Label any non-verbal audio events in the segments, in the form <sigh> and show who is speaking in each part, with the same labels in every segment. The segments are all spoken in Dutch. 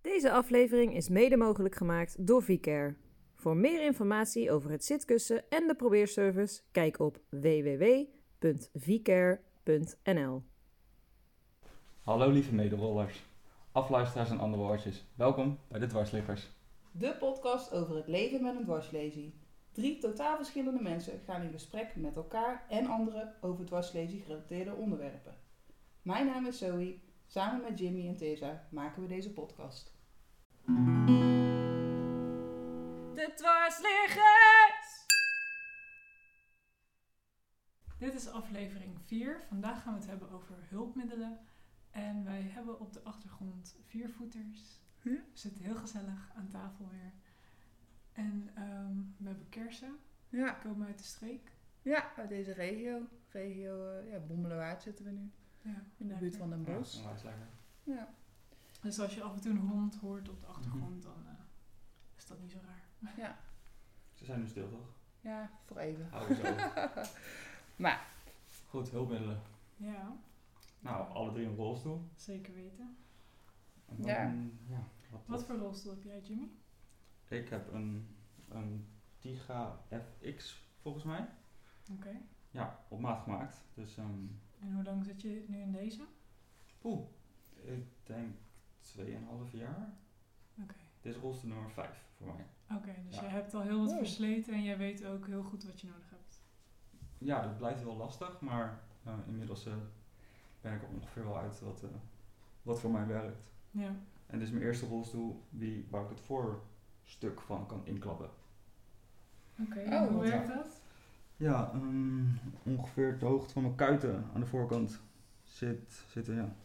Speaker 1: Deze aflevering is mede mogelijk gemaakt door VCare. Voor meer informatie over het zitkussen en de probeerservice, kijk op www.vcare.nl.
Speaker 2: Hallo lieve mederollers, afluisteraars en andere oortjes. Welkom bij de Dwarsliggers.
Speaker 3: De podcast over het leven met een dwarslesie. Drie totaal verschillende mensen gaan in gesprek met elkaar en anderen over dwarslesie gerelateerde onderwerpen. Mijn naam is Zoe. Samen met Jimmy en Tessa maken we deze podcast.
Speaker 4: De dwarsliggers! Dit is aflevering 4. Vandaag gaan we het hebben over hulpmiddelen. En wij hebben op de achtergrond viervoeters. We zitten heel gezellig aan tafel weer. En ehm, we hebben kersen.
Speaker 3: Ja,
Speaker 4: Komen uit de streek.
Speaker 3: ja uit deze regio. Regio eh, ja, Bommelerwaard zitten we nu.
Speaker 4: Ja,
Speaker 3: In de buurt van Den Bosch.
Speaker 2: onwijs lekker.
Speaker 3: Ja.
Speaker 4: Dus als je af en toe een hond hoort op de achtergrond, dan eh, is dat niet zo raar.
Speaker 2: Ze zijn nu stil toch?
Speaker 3: ja, voor even.
Speaker 2: Houden zo.
Speaker 3: Maar.
Speaker 2: Goed, hulpmiddelen.
Speaker 4: Ja,
Speaker 2: Nou, alle drie een rolstoel.
Speaker 4: zeker weten.
Speaker 2: En dan,
Speaker 3: Ja.
Speaker 2: ja, wat
Speaker 4: Wat voor rolstoel heb jij, Jimmy?
Speaker 2: Ik heb een, een Tiga FX volgens mij.
Speaker 4: Oké.
Speaker 2: Ja, op maat gemaakt. Dus ehm
Speaker 4: En hoe lang zit je nu in deze?
Speaker 2: poeh, ik denk 2,5 jaar.
Speaker 4: Oké.
Speaker 2: Dit is rolstoel nummer 5 voor mij.
Speaker 4: Oké, dus
Speaker 2: Ja.
Speaker 4: jij hebt al heel wat
Speaker 3: Oh.
Speaker 4: versleten en jij weet ook heel goed wat je nodig hebt.
Speaker 2: Ja, dat blijft wel lastig, maar eh, inmiddels eh, ben ik er ongeveer wel uit wat, eh, wat voor mij werkt.
Speaker 4: Ja,
Speaker 2: En dit is mijn eerste rolstoel die, waar ik het voorstuk van kan inklappen.
Speaker 4: oké.
Speaker 3: Oh,
Speaker 4: hoe
Speaker 3: wat
Speaker 4: werkt dat?
Speaker 2: Ja, ehm, ongeveer de hoogte van mijn kuiten aan de voorkant zit, zitten ja,
Speaker 3: <laughs>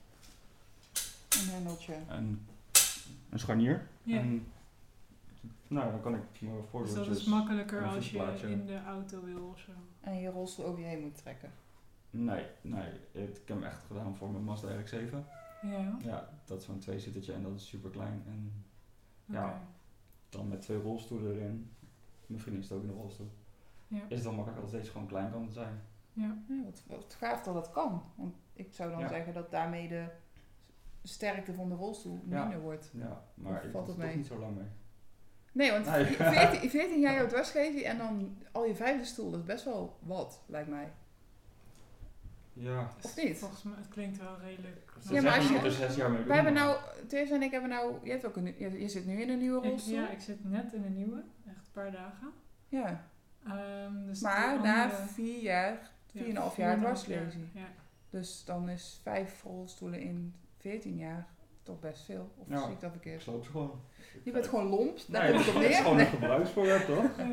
Speaker 3: Een hendeltje.
Speaker 2: een, een scharnier.
Speaker 4: Ja.
Speaker 2: En, nou, dan kan ik mijn
Speaker 4: dus dat is
Speaker 2: voorwieltjes...
Speaker 4: makkelijker
Speaker 2: een
Speaker 4: als je
Speaker 2: voetplaatje.
Speaker 4: in de auto wil of zo.
Speaker 3: En je rolstoel over je heen moet trekken.
Speaker 2: Nee, nee, het- ik heb hem echt gedaan voor mijn Mazda RX-7.
Speaker 4: Ja, oké.
Speaker 2: Ja, dat is zo'n tweezittertje en dat is super klein. En Ja. dan met twee rolstoelen erin. Mijn vriendin is ook in de rolstoel.
Speaker 4: Ja.
Speaker 2: Is het dan makkelijk als deze gewoon klein kan zijn?
Speaker 3: Ja, wat, wat gaaf dat dat kan. Want ik zou dan
Speaker 2: Ja.
Speaker 3: zeggen dat daarmee de sterkte van de rolstoel
Speaker 2: Ja.
Speaker 3: minder wordt.
Speaker 2: Ja, maar
Speaker 3: Of
Speaker 2: ik
Speaker 3: valt
Speaker 2: was
Speaker 3: het
Speaker 2: toch
Speaker 3: mee?
Speaker 2: niet zo lang mee.
Speaker 3: Nee, want <laughs>
Speaker 2: Nee.
Speaker 3: 14, 14 jaar jouw dwarslesie en dan al je vijfde stoel, dat is best wel wat, lijkt mij.
Speaker 2: Ja,
Speaker 4: Dus
Speaker 3: Of niet?
Speaker 4: Volgens mij, het klinkt wel redelijk.
Speaker 2: Ze
Speaker 3: Ja, maar
Speaker 2: zeggen
Speaker 3: als je-
Speaker 2: dat er zes jaar mee
Speaker 3: Wij hebben
Speaker 2: doen.
Speaker 3: nou, Theresa en ik hebben nou, je, hebt ook een, nu- je, je zit nu in een nieuwe
Speaker 4: Ik,
Speaker 3: rolstoel.
Speaker 4: ja, ik zit net in een nieuwe. Echt een paar dagen.
Speaker 3: Ja.
Speaker 4: Ehm, dus
Speaker 3: Maar
Speaker 4: die
Speaker 3: na
Speaker 4: andere-
Speaker 3: vier jaar,
Speaker 4: ja,
Speaker 3: 4,5 jaar
Speaker 4: 4,5
Speaker 3: dwarslezen.
Speaker 4: Ja.
Speaker 3: dus dan is vijf rolstoelen in 14 jaar toch best veel. Of
Speaker 2: Ja.
Speaker 3: zie ik dat
Speaker 2: Ik
Speaker 3: verkeerd?
Speaker 2: sloop ze gewoon.
Speaker 3: Je bent gewoon lomp, daar
Speaker 2: Nee, <laughs>
Speaker 3: komt
Speaker 2: dat
Speaker 3: het op
Speaker 2: is gewoon
Speaker 3: neer.
Speaker 2: een gebruiksvoorwerp, toch?
Speaker 4: <laughs> Eh,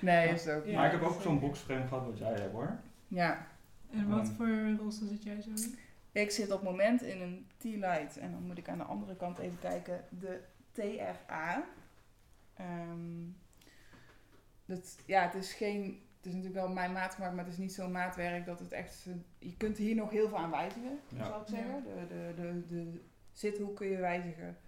Speaker 3: Nee, is het ook.
Speaker 4: Ja.
Speaker 2: maar ik heb ook zo'n boxframe gehad wat jij hebt, hoor.
Speaker 3: Ja.
Speaker 4: en wat
Speaker 2: Ehm.
Speaker 4: voor rolstoel zit jij zo in?
Speaker 3: Ik zit op het moment in een T-Light. En dan moet ik aan de andere kant even kijken. De TRA. Ehm, dat, ja, het is geen... Het is natuurlijk wel mijn maatwerk, maar het is niet zo'n maatwerk dat het echt... Je kunt hier nog heel veel aan wijzigen,
Speaker 2: Ja.
Speaker 3: zou ik zeggen. De, de, de, de zithoek kun je wijzigen.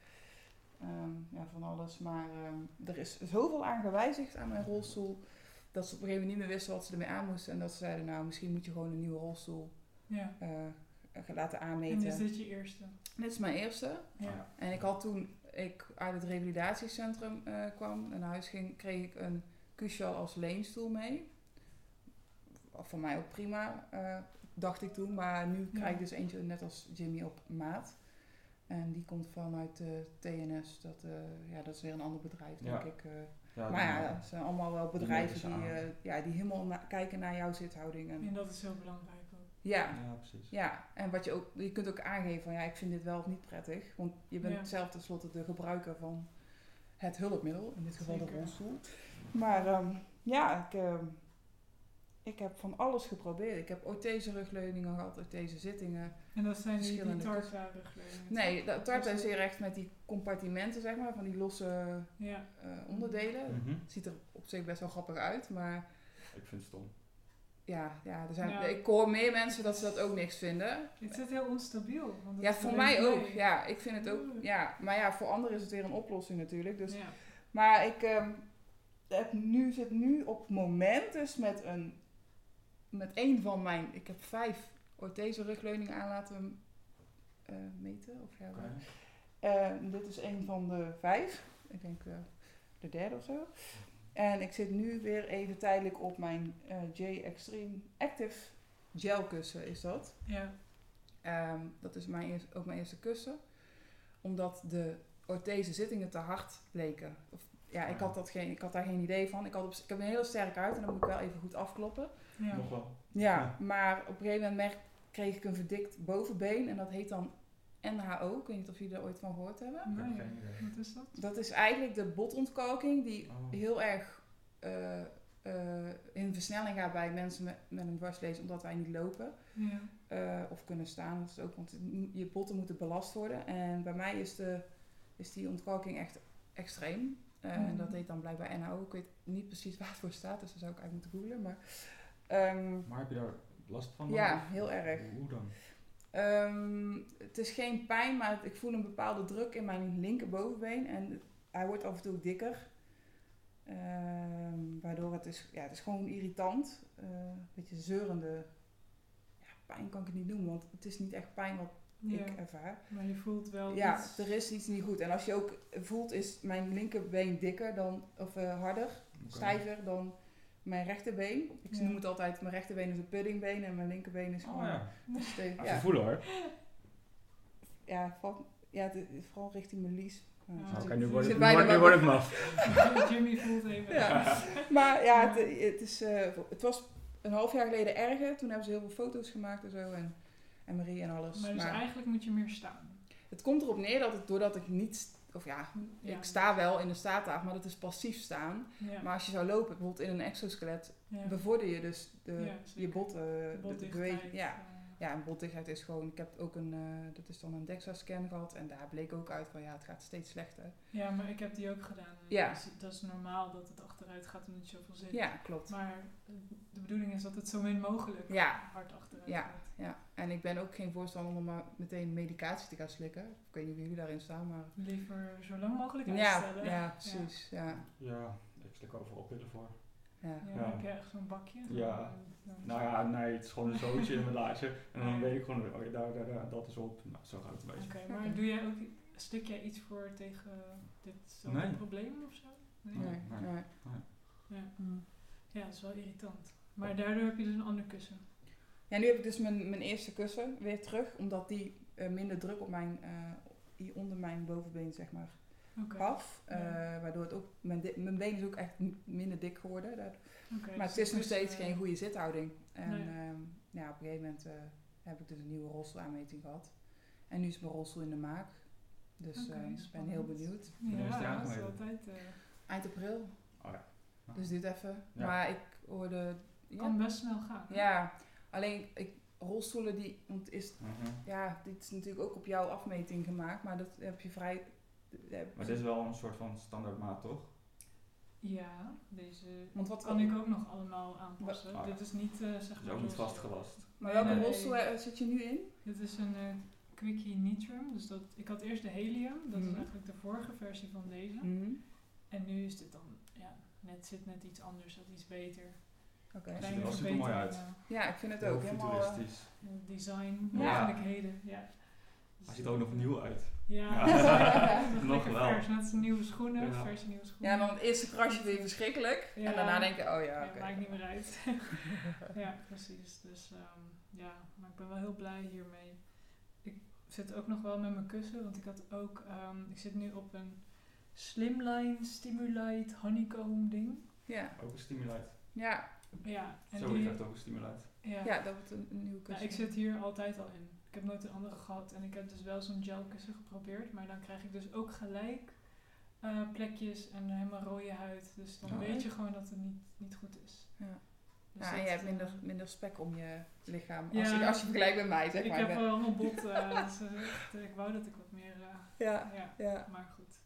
Speaker 3: Ehm, ja, van alles. Maar ehm, er is zoveel aan gewijzigd aan mijn rolstoel... dat ze op een gegeven moment niet meer wisten wat ze ermee aan moesten. En dat ze zeiden, nou, misschien moet je gewoon een nieuwe rolstoel
Speaker 4: Ja.
Speaker 3: eh, eh, laten
Speaker 4: En
Speaker 3: aanmeten.
Speaker 4: is dit je eerste?
Speaker 3: Dit is mijn eerste.
Speaker 2: Ah,
Speaker 4: Ja.
Speaker 3: En ik had toen ik uit het revalidatiecentrum eh, kwam en naar huis ging, kreeg ik een Cushal als leenstoel mee. Voor mij ook prima, eh, dacht ik toen. Maar nu
Speaker 4: Ja.
Speaker 3: krijg ik dus eentje net als Jimmy op maat. En die komt vanuit eh TNS. Dat, eh, ja, dat is weer een ander bedrijf, denk
Speaker 2: Ja.
Speaker 3: ik. eh.
Speaker 2: Ja,
Speaker 3: maar ja,
Speaker 2: dan-
Speaker 3: het zijn allemaal wel
Speaker 2: Die
Speaker 3: bedrijven die,
Speaker 2: nemen ze aan.
Speaker 3: eh, ja, die helemaal na- kijken naar jouw zithouding. En,
Speaker 4: En dat is heel belangrijk ook.
Speaker 3: ja,
Speaker 2: ja, precies.
Speaker 3: ja, en wat je ook, je kunt ook aangeven van ja, ik vind dit wel of niet prettig. Want je bent
Speaker 4: Ja.
Speaker 3: zelf tenslotte de gebruiker van het hulpmiddel, in dit geval de
Speaker 4: Zeker.
Speaker 3: rolstoel. Maar ehm, ja, ik, ehm, ik heb van alles geprobeerd. Ik heb orthese rugleuningen gehad, orthese zittingen.
Speaker 4: En dat zijn die, die
Speaker 3: Verschillende
Speaker 4: tartarugleidingen.
Speaker 3: Nee, dat tarta is
Speaker 4: Dus-
Speaker 3: hier echt met die compartimenten, zeg maar, van die losse
Speaker 4: Ja,
Speaker 3: eh, onderdelen.
Speaker 2: Mhm.
Speaker 3: Het ziet er op zich best wel grappig uit, maar
Speaker 2: Ik vind het stom.
Speaker 3: ja, ja, er zijn,
Speaker 4: Ja.
Speaker 3: ik hoor meer mensen dat ze dat ook niks vinden.
Speaker 4: het zit heel onstabiel. want het
Speaker 3: Ja,
Speaker 4: is
Speaker 3: voor
Speaker 4: alleen
Speaker 3: mij
Speaker 4: blij.
Speaker 3: ook. Ja, ik vind het ook.
Speaker 4: Moeilijk.
Speaker 3: Ja, maar ja, voor anderen is het weer een oplossing natuurlijk. Dus.
Speaker 4: Ja.
Speaker 3: Maar ik ehm, heb nu, zit nu op het moment dus met een, met één van mijn. Ik heb vijf orthese rugleuningen aan laten eh, meten. Of ja,
Speaker 2: Oké.
Speaker 3: Eh, dit is een van de vijf. Ik denk eh, de derde of zo. En ik zit nu weer even tijdelijk op mijn eh, J Extreme Active gel kussen is dat.
Speaker 4: Ja.
Speaker 3: Ehm, dat is mijn eerst- ook mijn eerste kussen. Omdat de orthese zittingen te hard bleken. Of, ja, ik had, dat geen, ik had daar geen idee van. Ik, had op, ik heb een heel sterk uit en dat moet ik wel even goed afkloppen.
Speaker 4: ja.
Speaker 2: Nog wel.
Speaker 3: Ja,
Speaker 2: Ja.
Speaker 3: maar op een gegeven moment merk, kreeg ik een verdikt bovenbeen. En dat heet dan NHO. Ik weet niet of jullie er ooit van gehoord hebben.
Speaker 2: Ik heb
Speaker 4: Nee,
Speaker 2: geen idee.
Speaker 4: Wat is dat?
Speaker 3: Dat is eigenlijk de botontkalking die
Speaker 2: Oh.
Speaker 3: heel erg eh, eh, in versnelling gaat bij mensen met, met een dwarslees. Omdat wij niet lopen.
Speaker 4: Ja.
Speaker 3: eh, of kunnen staan. Dat is ook, want je botten moeten belast worden. En bij mij is, de, is die ontkalking echt extreem. Eh, En
Speaker 4: Mhm.
Speaker 3: dat heet dan blijkbaar NHO. Ik weet niet precies <laughs> waar het voor staat, dus daar zou ik uit moeten googlen. Maar, ehm,
Speaker 2: Maar heb je daar last van? dan?
Speaker 3: Ja, heel erg.
Speaker 2: Hoe- Hoe dan?
Speaker 3: ehm, het is geen pijn, maar ik voel een bepaalde druk in mijn linkerbovenbeen. En hij wordt af en toe dikker. Ehm, waardoor het is, ja, het is gewoon irritant. Eh, een beetje zeurende. Ja, pijn kan ik het niet noemen, want het is niet echt pijn wat
Speaker 4: ja.
Speaker 3: ik ervaar.
Speaker 4: Maar je voelt wel
Speaker 3: Ja,
Speaker 4: Oh, iets. <laughs>
Speaker 3: er is iets niet goed. En als je ook voelt, is mijn linkerbeen dikker dan, of eh, harder,
Speaker 2: Oké.
Speaker 3: stijver dan mijn rechterbeen. Ik
Speaker 4: Ja.
Speaker 3: noem het altijd, mijn rechterbeen is een puddingbeen en mijn linkerbeen is gewoon
Speaker 2: Oh ja,
Speaker 3: stevig.
Speaker 2: ja.
Speaker 3: Ja,
Speaker 2: voelen hoor.
Speaker 3: ja, vooral, ja het- vooral richting mijn lies. Nou,
Speaker 4: Ah.
Speaker 3: dat is
Speaker 2: Oké,
Speaker 4: Oké,
Speaker 2: nu
Speaker 4: nu word
Speaker 2: wordt
Speaker 4: ik-
Speaker 2: het
Speaker 3: Zit bijna nu wel- word ik
Speaker 2: maf.
Speaker 4: <laughs> Jimmy voelt even.
Speaker 3: Ja. Maar ja, het, het is, eh, het was een half jaar geleden erger. Toen hebben ze heel veel foto's gemaakt en zo. En, en Marie en alles.
Speaker 4: Maar dus
Speaker 3: Maar
Speaker 4: eigenlijk moet je meer staan.
Speaker 3: het komt erop neer dat het, doordat ik niet... st- Of ja,
Speaker 4: Ja.
Speaker 3: ik sta wel in de staattaaf, maar dat is passief staan.
Speaker 4: Ja.
Speaker 3: Maar als je zou lopen, bijvoorbeeld in een exoskelet,
Speaker 4: ja.
Speaker 3: bevorder je dus de,
Speaker 4: Ja, zeker.
Speaker 3: je botten.
Speaker 4: De
Speaker 3: De
Speaker 4: botdichtheid,
Speaker 3: beweging. Ja.
Speaker 4: eh,
Speaker 3: ja, en botdichtheid is gewoon, ik heb ook een, eh, dat is dan een DEXA-scan gehad en daar bleek ook uit van ja, het gaat steeds slechter.
Speaker 4: ja, maar ik heb die ook gedaan. Dus
Speaker 3: Ja.
Speaker 4: Dat is, dat is normaal dat het achteruit gaat omdat je zoveel zit.
Speaker 3: Ja, klopt.
Speaker 4: Maar eh, de bedoeling is dat het zo min mogelijk
Speaker 3: Ja.
Speaker 4: hard achteruit
Speaker 3: Ja.
Speaker 4: gaat.
Speaker 3: Ja, en ik ben ook geen voorstander om maar meteen medicatie te gaan slikken. Ik weet niet hoe jullie daarin staan, maar...
Speaker 4: Liever zo lang mogelijk
Speaker 3: Ja,
Speaker 4: uitstellen.
Speaker 3: ja, precies. Ja.
Speaker 2: Ja, ik slik overal pillen voor.
Speaker 3: Ja.
Speaker 4: Ja,
Speaker 2: Ja.
Speaker 4: dan heb je echt zo'n bakje.
Speaker 2: Ja.
Speaker 4: Dan-
Speaker 2: Nou ja, nee, het is gewoon een zootje in mijn laadje. En dan
Speaker 4: Ja.
Speaker 2: weet ik gewoon, oh ja, daar, daar, daar, dat is op. Nou, zo gaat het een beetje.
Speaker 4: Oké, maar doe jij ook, stik jij iets voor tegen dit
Speaker 2: Nee.
Speaker 4: probleem of zo? Nee.
Speaker 3: Nee,
Speaker 2: Nee.
Speaker 3: nee.
Speaker 4: Ja.
Speaker 3: Hm.
Speaker 4: ja, dat is wel irritant. Maar daardoor heb je dus een ander kussen.
Speaker 3: Ja, nu heb ik dus mijn, mijn eerste kussen weer terug, omdat die eh, minder druk op mijn, eh, die onder mijn bovenbeen, zeg maar,
Speaker 4: Oké.
Speaker 3: af.
Speaker 4: Ja.
Speaker 3: eh, waardoor het ook, mijn, di- mijn been is ook echt m- minder dik geworden. daardoor.
Speaker 4: Oké,
Speaker 3: maar
Speaker 4: dus
Speaker 3: het is nog steeds
Speaker 4: eh,
Speaker 3: geen goede zithouding. En
Speaker 4: Nee.
Speaker 3: ehm, ja, op een gegeven moment eh, heb ik dus een nieuwe rolstoelaanmeting gehad. En nu is mijn rolstoel in de maak. Dus
Speaker 4: Oké,
Speaker 3: ehm, ik ben
Speaker 4: spannend.
Speaker 3: heel benieuwd.
Speaker 2: Nu is die
Speaker 4: Ja, dat is
Speaker 2: aangemeten.
Speaker 4: altijd. eh,
Speaker 3: Eind april,
Speaker 2: Oh ja. Nou,
Speaker 3: dus dit even.
Speaker 2: Ja.
Speaker 3: Maar ik hoorde... Ja,
Speaker 4: Kan best snel gaan. hè?
Speaker 3: ja alleen ik, rolstoelen die... Want is,
Speaker 2: mhm.
Speaker 3: ja, dit is natuurlijk ook op jouw afmeting gemaakt. Maar dat heb je vrij...
Speaker 2: Maar dit is wel een soort van standaardmaat, toch?
Speaker 4: Ja, deze
Speaker 3: Want wat
Speaker 4: kan ik ook nog allemaal aanpassen.
Speaker 2: Ah, ja.
Speaker 4: Dit is niet eh zeg
Speaker 2: Het is
Speaker 4: maar
Speaker 2: ook niet
Speaker 4: los.
Speaker 2: vastgelast.
Speaker 3: Maar welke
Speaker 2: Nee.
Speaker 3: rolstoel eh, zit je nu in?
Speaker 4: Dit is een eh, Quickie Nitrum. Dus dat, ik had eerst de Helium. Dat is
Speaker 3: Mhm.
Speaker 4: eigenlijk de vorige versie van deze.
Speaker 3: Mhm.
Speaker 4: En nu is dit dan, ja, net zit net iets anders, dat iets beter.
Speaker 3: Oké.
Speaker 2: ziet er
Speaker 4: Kleine
Speaker 2: wel supermooi
Speaker 4: verbetering,
Speaker 2: uit.
Speaker 4: eh,
Speaker 3: Ja, ik vind het
Speaker 2: Heel
Speaker 3: ook helemaal. eh,
Speaker 2: futuristisch.
Speaker 4: in het design,
Speaker 2: Ja.
Speaker 4: mogelijkheden. Ja. Dus
Speaker 2: Hij ziet er ook nog nieuw uit.
Speaker 4: Ja, <laughs>
Speaker 2: Ja.
Speaker 4: dat
Speaker 2: <laughs>
Speaker 4: is
Speaker 2: Nog
Speaker 4: lekker
Speaker 2: wel.
Speaker 4: Vers, net als nieuwe schoenen,
Speaker 2: Ja.
Speaker 4: verse nieuwe schoenen.
Speaker 3: ja, dan het eerste krasje vind je verschrikkelijk.
Speaker 4: Ja.
Speaker 3: En daarna denk je, oh ja,
Speaker 4: Ja,
Speaker 3: oké.
Speaker 4: maakt niet meer uit. ja, precies. Dus ehm, ja, maar ik ben wel heel blij hiermee. Ik zit ook nog wel met mijn kussen, want ik had ook, ehm, ik zit nu op een Slimline Stimulite Honeycomb ding.
Speaker 3: Ja,
Speaker 2: Ook een stimulite.
Speaker 3: ja,
Speaker 4: Ja, en
Speaker 2: Zo,
Speaker 4: die,
Speaker 2: ik heb ook een stimulite.
Speaker 4: ja.
Speaker 3: ja, dat wordt een, een nieuwe
Speaker 4: Nou,
Speaker 3: kussen.
Speaker 4: ik zit hier altijd al in. Ik heb nooit een andere gehad. En ik heb dus wel zo'n gelkussen geprobeerd. Maar dan krijg ik dus ook gelijk eh, plekjes en helemaal rode huid. Dus dan
Speaker 2: Oh,
Speaker 4: weet
Speaker 3: echt?
Speaker 4: je gewoon dat het niet, niet goed is.
Speaker 3: Ja.
Speaker 4: Dus
Speaker 3: Ja, en
Speaker 4: dat,
Speaker 3: je hebt
Speaker 4: eh,
Speaker 3: minder, minder spek om je lichaam.
Speaker 4: Ja.
Speaker 3: Als, je, als je vergelijkt met mij, zeg
Speaker 4: ik
Speaker 3: maar.
Speaker 4: heb
Speaker 3: ben-
Speaker 4: wel allemaal bot. <laughs> eh, dus, eh, echt, eh, ik wou dat ik wat meer... eh,
Speaker 3: ja,
Speaker 4: ja,
Speaker 3: ja,
Speaker 4: maar goed.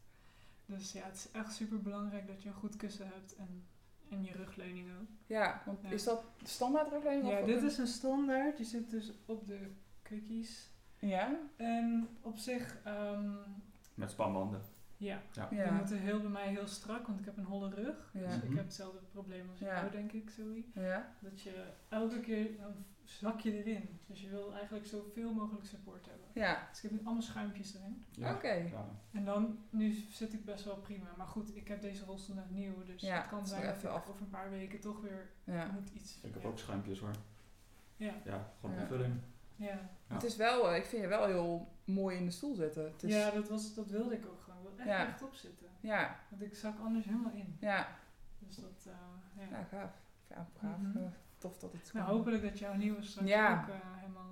Speaker 4: Dus ja, het is echt super belangrijk dat je een goed kussen hebt. En, en je rugleuning ook.
Speaker 3: ja, want
Speaker 4: Ja.
Speaker 3: is dat de standaard ook helemaal
Speaker 4: Ja,
Speaker 3: voor-
Speaker 4: dit is een standaard. Die zit dus op de cookies.
Speaker 3: Ja?
Speaker 4: En op zich... ehm,
Speaker 2: Met spanbanden.
Speaker 4: Ja,
Speaker 3: Ja.
Speaker 4: die moeten heel bij mij heel strak, want ik heb een holle rug.
Speaker 3: Ja.
Speaker 4: Dus ik
Speaker 2: Mhm.
Speaker 4: heb hetzelfde probleem als
Speaker 3: Ja.
Speaker 4: jou, denk ik, Zoe.
Speaker 3: Ja?
Speaker 4: Dat je elke keer, dan zak je erin. Dus je wil eigenlijk zoveel mogelijk support hebben.
Speaker 3: Ja,
Speaker 4: Dus ik heb nu allemaal schuimpjes erin.
Speaker 2: Ja.
Speaker 3: oké.
Speaker 2: Ja.
Speaker 4: En dan, nu zit ik best wel prima. Maar goed, ik heb deze rolstoel net nieuw. Dus
Speaker 3: Ja,
Speaker 4: het kan
Speaker 3: het is
Speaker 4: zijn
Speaker 3: nog
Speaker 4: dat ik
Speaker 3: even af.
Speaker 4: over een paar weken toch weer
Speaker 3: Ja.
Speaker 4: moet iets...
Speaker 2: Ik heb ook schuimpjes hoor.
Speaker 4: Ja,
Speaker 2: Ja, gewoon
Speaker 3: Ja.
Speaker 2: invulling.
Speaker 4: ja.
Speaker 2: Ja.
Speaker 3: Het is wel, eh, ik vind je wel heel mooi in de stoel zitten. Het is,
Speaker 4: ja dat, was, dat wilde ik ook gewoon. Ik wil echt
Speaker 3: Ja.
Speaker 4: rechtop zitten.
Speaker 3: ja,
Speaker 4: Want ik zak anders helemaal in.
Speaker 3: ja.
Speaker 4: Dus dat, eh, ja.
Speaker 3: Ja, gaaf. Ja, gaaf.
Speaker 4: Mhm.
Speaker 3: Eh, Tof dat het
Speaker 4: Nou,
Speaker 3: kan.
Speaker 4: hopelijk dat jouw nieuwe straks
Speaker 3: Ja.
Speaker 4: ook eh, helemaal...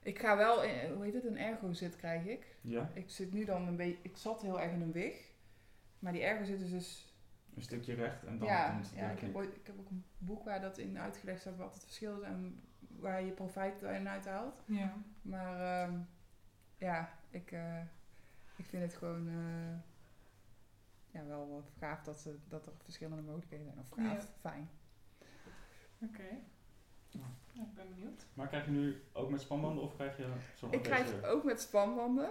Speaker 3: Ik ga wel, in, hoe heet het, een ergo zit krijg ik.
Speaker 2: Ja,
Speaker 3: Ik zit nu dan een beetje, ik zat heel erg in een wig. Maar die ergo zit is dus,
Speaker 2: een stukje recht en dan
Speaker 3: ja,
Speaker 2: komt het
Speaker 3: ja
Speaker 2: weer
Speaker 3: ik, heb
Speaker 2: knik.
Speaker 3: ooit, ik heb ook een boek waar dat in uitgelegd staat wat het verschil is en waar je profijt erin uithaalt.
Speaker 4: Ja.
Speaker 3: Maar ehm, ja, ik, eh, ik vind het gewoon eh, ja, wel eh, gaaf dat, ze, dat er verschillende mogelijkheden zijn. Of gaaf, fijn.
Speaker 4: Oké.
Speaker 2: Ja.
Speaker 4: Nou, ik ben benieuwd.
Speaker 2: Maar krijg je nu ook met spanbanden of krijg je zo'n
Speaker 3: Ik krijg ook met spanbanden.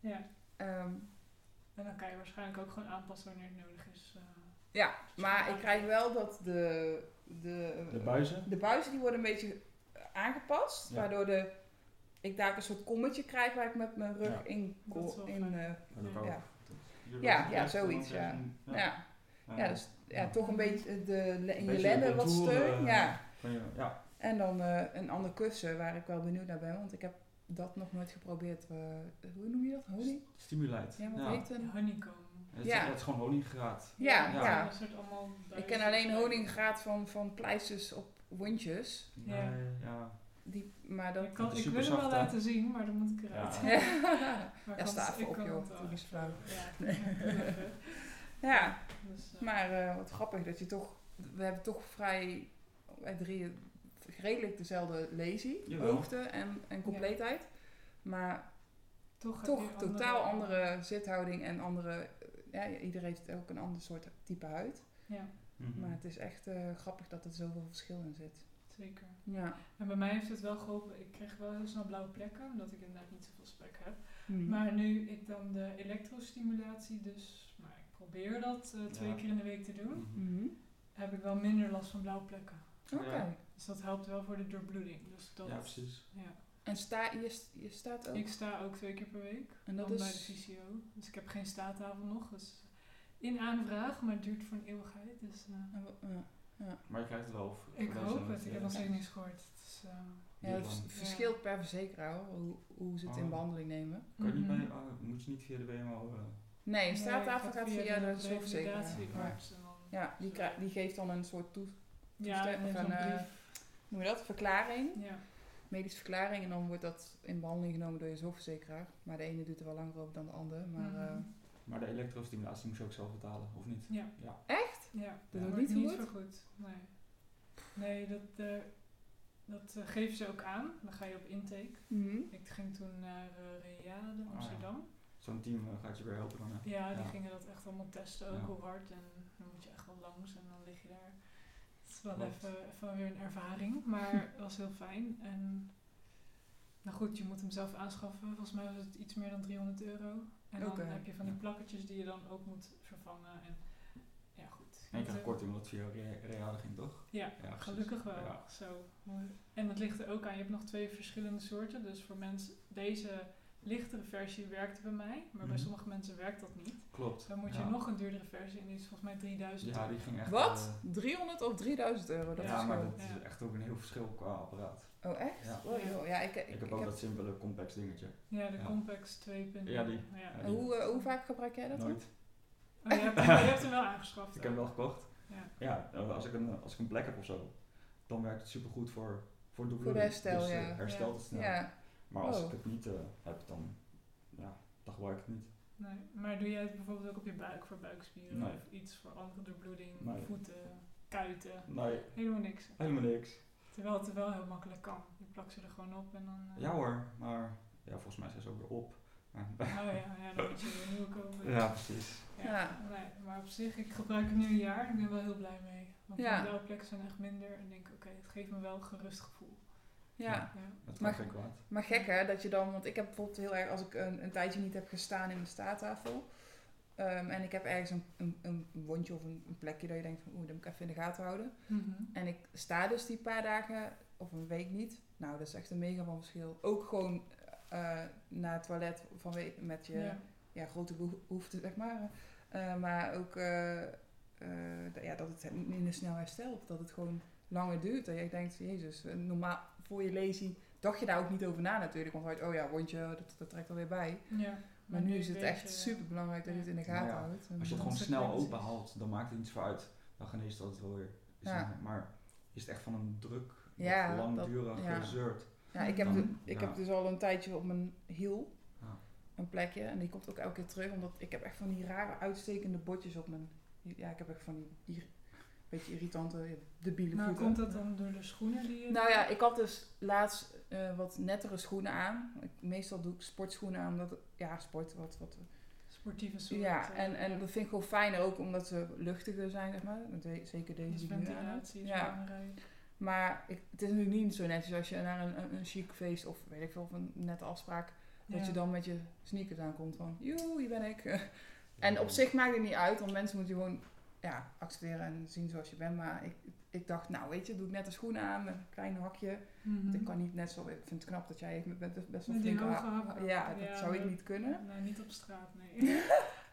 Speaker 4: Ja.
Speaker 3: ehm,
Speaker 4: En dan kan je waarschijnlijk ook gewoon aanpassen wanneer het nodig is. eh.
Speaker 3: ja, maar ik krijg wel dat de, de,
Speaker 2: De buizen?
Speaker 3: de buizen die worden een beetje aangepast.
Speaker 2: Ja.
Speaker 3: Waardoor de, ik daar een soort kommetje krijg waar ik met mijn rug
Speaker 2: Ja.
Speaker 3: in... ko-
Speaker 4: Dat is wel
Speaker 3: in
Speaker 4: fijn.
Speaker 3: eh,
Speaker 2: Heb ik
Speaker 4: Ja.
Speaker 2: ook.
Speaker 3: Ja.
Speaker 2: Je
Speaker 3: Ja,
Speaker 2: rug
Speaker 3: ja,
Speaker 2: recht, dan
Speaker 3: zoiets,
Speaker 2: krijg je
Speaker 3: ja.
Speaker 2: een-
Speaker 3: ja. Ja, dus ja,
Speaker 2: Ja.
Speaker 3: toch een beetje de, le- in je
Speaker 2: Beetje
Speaker 3: lenden wat
Speaker 2: contouren,
Speaker 3: steun.
Speaker 2: eh,
Speaker 3: Ja.
Speaker 2: Van je- ja.
Speaker 3: En dan eh, een ander kussen waar ik wel benieuwd naar ben, want ik heb dat nog nooit geprobeerd. eh, hoe noem je dat? Honing?
Speaker 2: Stimulite.
Speaker 3: Ja, wat
Speaker 2: Ja.
Speaker 3: heet
Speaker 4: De
Speaker 3: een?
Speaker 4: honeycomb.
Speaker 2: Het,
Speaker 3: Ja.
Speaker 2: ja. het is gewoon honingraad.
Speaker 3: Ja,
Speaker 2: Ja.
Speaker 3: ja.
Speaker 4: Een soort allemaal
Speaker 3: Ik
Speaker 4: buizen.
Speaker 3: ken alleen honingraad van, van pleisters op wondjes.
Speaker 4: Ja.
Speaker 2: Nee, ja.
Speaker 3: Die, maar dat.
Speaker 4: <laughs> Ik, kan,
Speaker 2: Het
Speaker 4: ik
Speaker 2: is
Speaker 4: wil hem
Speaker 2: superzacht,
Speaker 4: wel
Speaker 2: hè?
Speaker 4: laten zien, maar dan moet ik eruit.
Speaker 3: <laughs>
Speaker 2: Ja.
Speaker 3: Ja,
Speaker 4: Maar
Speaker 3: ja
Speaker 4: kan-
Speaker 3: sta even
Speaker 4: ik
Speaker 3: op,
Speaker 4: kan
Speaker 3: joh.
Speaker 4: het wel. eh,
Speaker 3: Dat is flauw.
Speaker 4: Ja. <laughs>
Speaker 3: Ja,
Speaker 4: Dus, eh,
Speaker 3: maar eh, wat grappig dat je toch. We hebben toch vrij. Wij drieën redelijk dezelfde lazy,
Speaker 2: Jawel.
Speaker 3: hoogte en, en compleetheid. Maar
Speaker 4: toch heb
Speaker 3: toch
Speaker 4: je
Speaker 3: totaal andere zithouding en andere. eh, Ja, iedereen heeft ook een ander soort type huid.
Speaker 4: Ja,
Speaker 2: Mhm.
Speaker 3: Maar het is echt eh, grappig dat er zoveel verschil in zit.
Speaker 4: zeker.
Speaker 3: Ja.
Speaker 4: En bij mij heeft het wel geholpen. Ik kreeg wel heel snel blauwe plekken, omdat ik inderdaad niet zoveel spek heb.
Speaker 3: Mm. Mhm.
Speaker 4: Maar nu ik dan de elektrostimulatie, dus maar ik probeer dat eh, twee
Speaker 2: Ja.
Speaker 4: keer in de week te doen,
Speaker 2: Mhm.
Speaker 3: Mhm.
Speaker 4: heb ik wel minder last van blauwe plekken.
Speaker 3: Oké.
Speaker 2: Ja.
Speaker 4: Dus dat helpt wel voor de doorbloeding. Dus dat,
Speaker 2: Ja, precies.
Speaker 4: ja.
Speaker 3: En sta, je, st- je staat ook.
Speaker 4: Ik sta ook twee keer per week.
Speaker 3: En Oh. dat
Speaker 4: dan
Speaker 3: is-
Speaker 4: bij de fysio. Dus ik heb geen staattafel nog. Dus in aanvraag, maar het duurt voor een eeuwigheid. Dus eh,
Speaker 3: En wa- ja.
Speaker 2: Maar je krijgt het wel. voor-
Speaker 4: ik
Speaker 2: voor
Speaker 4: hoop
Speaker 2: deze-
Speaker 4: het. Ik heb nog steeds niets gehoord. Het is, eh,
Speaker 3: Ja, het vers-
Speaker 2: Ja.
Speaker 3: verschilt per verzekeraar hoor, hoe, hoe ze het in
Speaker 2: Oh.
Speaker 3: behandeling nemen.
Speaker 2: Kan je niet
Speaker 4: mhm.
Speaker 2: bij, ah, moet je niet via de WMO? eh,
Speaker 3: Nee, een
Speaker 4: Nee,
Speaker 3: staattafel
Speaker 4: ik
Speaker 3: gaat via de
Speaker 4: revalidatiearts
Speaker 3: zorgverzekeraar. Ja.
Speaker 4: en dan-
Speaker 3: Ja, die, kra- die geeft dan een soort toe,
Speaker 4: Ja,
Speaker 3: toestem-
Speaker 4: en
Speaker 3: of
Speaker 4: zo'n
Speaker 3: een, eh,
Speaker 4: brief.
Speaker 3: noem je dat, verklaring,
Speaker 4: Ja.
Speaker 3: medische verklaring. En dan wordt dat in behandeling genomen door je zorgverzekeraar. Maar de ene doet er wel langer over dan de ander. Maar
Speaker 4: Mhm.
Speaker 3: eh,
Speaker 2: Maar de elektrostimulatie moest je ook zelf betalen, of niet?
Speaker 4: Ja.
Speaker 2: Ja.
Speaker 3: echt?
Speaker 4: Ja,
Speaker 3: Dat
Speaker 4: dat
Speaker 3: wordt
Speaker 4: niet
Speaker 3: niet
Speaker 4: niet
Speaker 3: vergoed?
Speaker 4: vergoed. Nee, nee dat, eh, dat eh, geven ze ook aan. Dan ga je op intake.
Speaker 3: Mhm.
Speaker 4: Ik ging toen naar eh Reade,
Speaker 2: Oh, ja.
Speaker 4: Amsterdam.
Speaker 2: Zo'n team eh, gaat je weer helpen dan, hè?
Speaker 4: ja. die
Speaker 2: Ja.
Speaker 4: gingen dat echt allemaal testen, ook
Speaker 2: Ja.
Speaker 4: hoe hard. En dan moet je echt wel langs en dan lig je daar. Het is wel
Speaker 2: Klopt.
Speaker 4: even, even weer een ervaring, maar
Speaker 2: <laughs>
Speaker 4: het was heel fijn. En nou goed, je moet hem zelf aanschaffen. Volgens mij was het iets meer dan 300 euro. En
Speaker 3: Oké.
Speaker 4: dan heb je van die
Speaker 2: Ja.
Speaker 4: plakketjes die je dan ook moet vervangen. En ja, goed.
Speaker 2: En je
Speaker 4: Het,
Speaker 2: krijgt
Speaker 4: eh,
Speaker 2: korting omdat het via Re- Real ging, toch?
Speaker 4: Ja,
Speaker 2: precies.
Speaker 4: Gelukkig wel.
Speaker 2: Ja.
Speaker 4: Zo. En dat ligt er ook aan. Je hebt nog twee verschillende soorten. Dus voor mensen, deze lichtere versie werkte bij mij, maar bij
Speaker 2: Mhm.
Speaker 4: sommige mensen werkt dat niet.
Speaker 2: Klopt.
Speaker 4: Dan moet je
Speaker 2: Ja.
Speaker 4: nog een duurdere versie en die is volgens mij 3000.
Speaker 2: Ja, die ging echt...
Speaker 3: Wat?
Speaker 2: eh,
Speaker 3: 300 of 3000 euro? Dat
Speaker 2: ja,
Speaker 3: verschil.
Speaker 2: maar dat
Speaker 4: Ja.
Speaker 2: is echt ook een heel verschil qua apparaat.
Speaker 3: Oh, echt?
Speaker 2: Ja.
Speaker 3: Oh, joh. Ja, ik, ik,
Speaker 2: Ik,
Speaker 3: ik
Speaker 2: heb ook dat simpele complex dingetje.
Speaker 4: Ja, de
Speaker 2: Ja.
Speaker 4: Compax 2.0.
Speaker 2: Ja, die.
Speaker 4: Ja.
Speaker 2: Ja.
Speaker 3: En Hoe, eh, hoe vaak gebruik jij dat
Speaker 2: Nooit.
Speaker 4: Oh, je, hebt hem, je hebt hem wel aangeschaft.
Speaker 2: Ik heb hem wel gekocht.
Speaker 4: Ja.
Speaker 2: Ja, eh, als ik een, als ik een plek heb of zo, dan werkt het supergoed voor, voor de bloeding.
Speaker 3: herstel,
Speaker 2: dus, eh,
Speaker 3: ja.
Speaker 2: herstelt het
Speaker 3: dan?
Speaker 2: snel.
Speaker 3: Ja.
Speaker 2: Maar als
Speaker 3: Oh.
Speaker 2: ik het niet eh, heb, dan, ja, dan gebruik ik het niet.
Speaker 4: Nee. Maar doe jij het bijvoorbeeld ook op je buik voor buikspieren?
Speaker 2: Nee.
Speaker 4: Of iets voor andere doorbloeding,
Speaker 2: Nee.
Speaker 4: voeten, kuiten?
Speaker 2: Nee,
Speaker 4: Helemaal niks.
Speaker 2: helemaal niks.
Speaker 4: Terwijl het er wel heel makkelijk kan. Je plakt ze er gewoon op en dan... eh,
Speaker 2: Ja hoor, maar ja, volgens mij zijn ze ook weer op. Maar-
Speaker 4: Oh
Speaker 2: <laughs>
Speaker 4: ja, ja, dan moet je weer nieuwe kopen.
Speaker 2: ja, precies.
Speaker 4: Ja, Nee, maar op zich, ik gebruik het nu een jaar en ik ben wel heel blij mee. Want
Speaker 3: Ja.
Speaker 4: ja. blauwe plekken zijn echt minder en ik denk, oké, het geeft me wel een gerust gevoel.
Speaker 3: ja.
Speaker 4: Ja.
Speaker 2: Het kan
Speaker 3: Maar-
Speaker 2: geen kwaad.
Speaker 3: Maar gek hè, dat je dan... Want ik heb bijvoorbeeld heel erg... Als ik een, een tijdje niet heb gestaan in de staattafel... ehm, en ik heb ergens een, een, een wondje of een, een plekje dat je denkt van... Oeh, dat moet ik even in de gaten houden.
Speaker 4: Mhm.
Speaker 3: En ik sta dus die paar dagen of een week niet. Nou, dat is echt een mega van verschil. Ook gewoon eh, naar het toilet vanwe- met je
Speaker 4: Ja.
Speaker 3: ja, grote beho- behoefte, zeg maar. Eh, maar ook eh, eh, dat- ja, dat het niet minder snel herstelt. Dat het gewoon langer duurt. Dat jij denkt, jezus, eh, normaal voor je lazy dacht je daar ook niet over na natuurlijk. Want dan had je, oh ja, rondje, dat, dat trekt alweer bij. Maar,
Speaker 4: Ja.
Speaker 3: nu, is het
Speaker 4: weet
Speaker 3: echt
Speaker 4: je, eh,
Speaker 3: super belangrijk dat je het in de
Speaker 2: Nou
Speaker 3: gaten
Speaker 2: ja,
Speaker 3: houdt.
Speaker 2: Als je het
Speaker 4: Dat
Speaker 2: gewoon
Speaker 4: soort
Speaker 2: snel
Speaker 4: mensen.
Speaker 2: openhaalt, dan maakt het niets voor uit. Dan gaan eerst dat het wel weer. is
Speaker 3: Ja.
Speaker 2: dan- Maar is het echt van een druk,
Speaker 3: Ja,
Speaker 2: dat langdurig
Speaker 3: dat- ja.
Speaker 2: gezeurd?
Speaker 3: Ja, ik heb,
Speaker 2: Dan-
Speaker 3: de- ik
Speaker 2: ja.
Speaker 3: heb dus al een tijdje op mijn hiel
Speaker 2: Ja.
Speaker 3: een plekje. En die komt ook elke keer terug. Omdat ik heb echt van die rare uitstekende botjes op mijn... Ja, ik heb echt van die, ir- beetje irritante, debiele
Speaker 4: Maar
Speaker 3: voeten.
Speaker 4: Nou, komt dat dan door de schoenen die je...
Speaker 3: Nou ja, ik had dus laatst eh, wat nettere schoenen aan. Ik, meestal doe ik sportschoenen aan, omdat... Ja, sport, wat... wat
Speaker 4: Sportieve soort.
Speaker 3: ja,
Speaker 4: eh,
Speaker 3: en, en dat vind ik gewoon fijner ook, omdat ze luchtiger zijn, zeg maar. Dat weet- Zeker deze
Speaker 4: dus
Speaker 3: die ik nu aan heb.
Speaker 4: ventilatie is
Speaker 3: Ja.
Speaker 4: belangrijk.
Speaker 3: Maar ik, het is natuurlijk niet zo netjes als je naar een, een, een chic feest of weet ik veel, of een nette afspraak... Dat
Speaker 4: Ja.
Speaker 3: je dan met je sneakers aankomt van, joe, hier ben ik. <laughs> En op zich maakt het niet uit, want mensen moeten je gewoon ja, accepteren en zien zoals je bent. Maar ik, ik dacht, nou weet je, doe ik net een schoenen aan met een klein hakje.
Speaker 4: Mhm.
Speaker 3: Want Ik kan niet net zo, ik vind het knap dat jij bent best- best wel
Speaker 4: Met die
Speaker 3: flink
Speaker 4: hoge hakken.
Speaker 3: ah, Ja, dat
Speaker 4: Ja,
Speaker 3: zou ik
Speaker 4: dat-
Speaker 3: niet kunnen.
Speaker 4: Nou, niet op straat,
Speaker 3: <laughs>
Speaker 4: nee.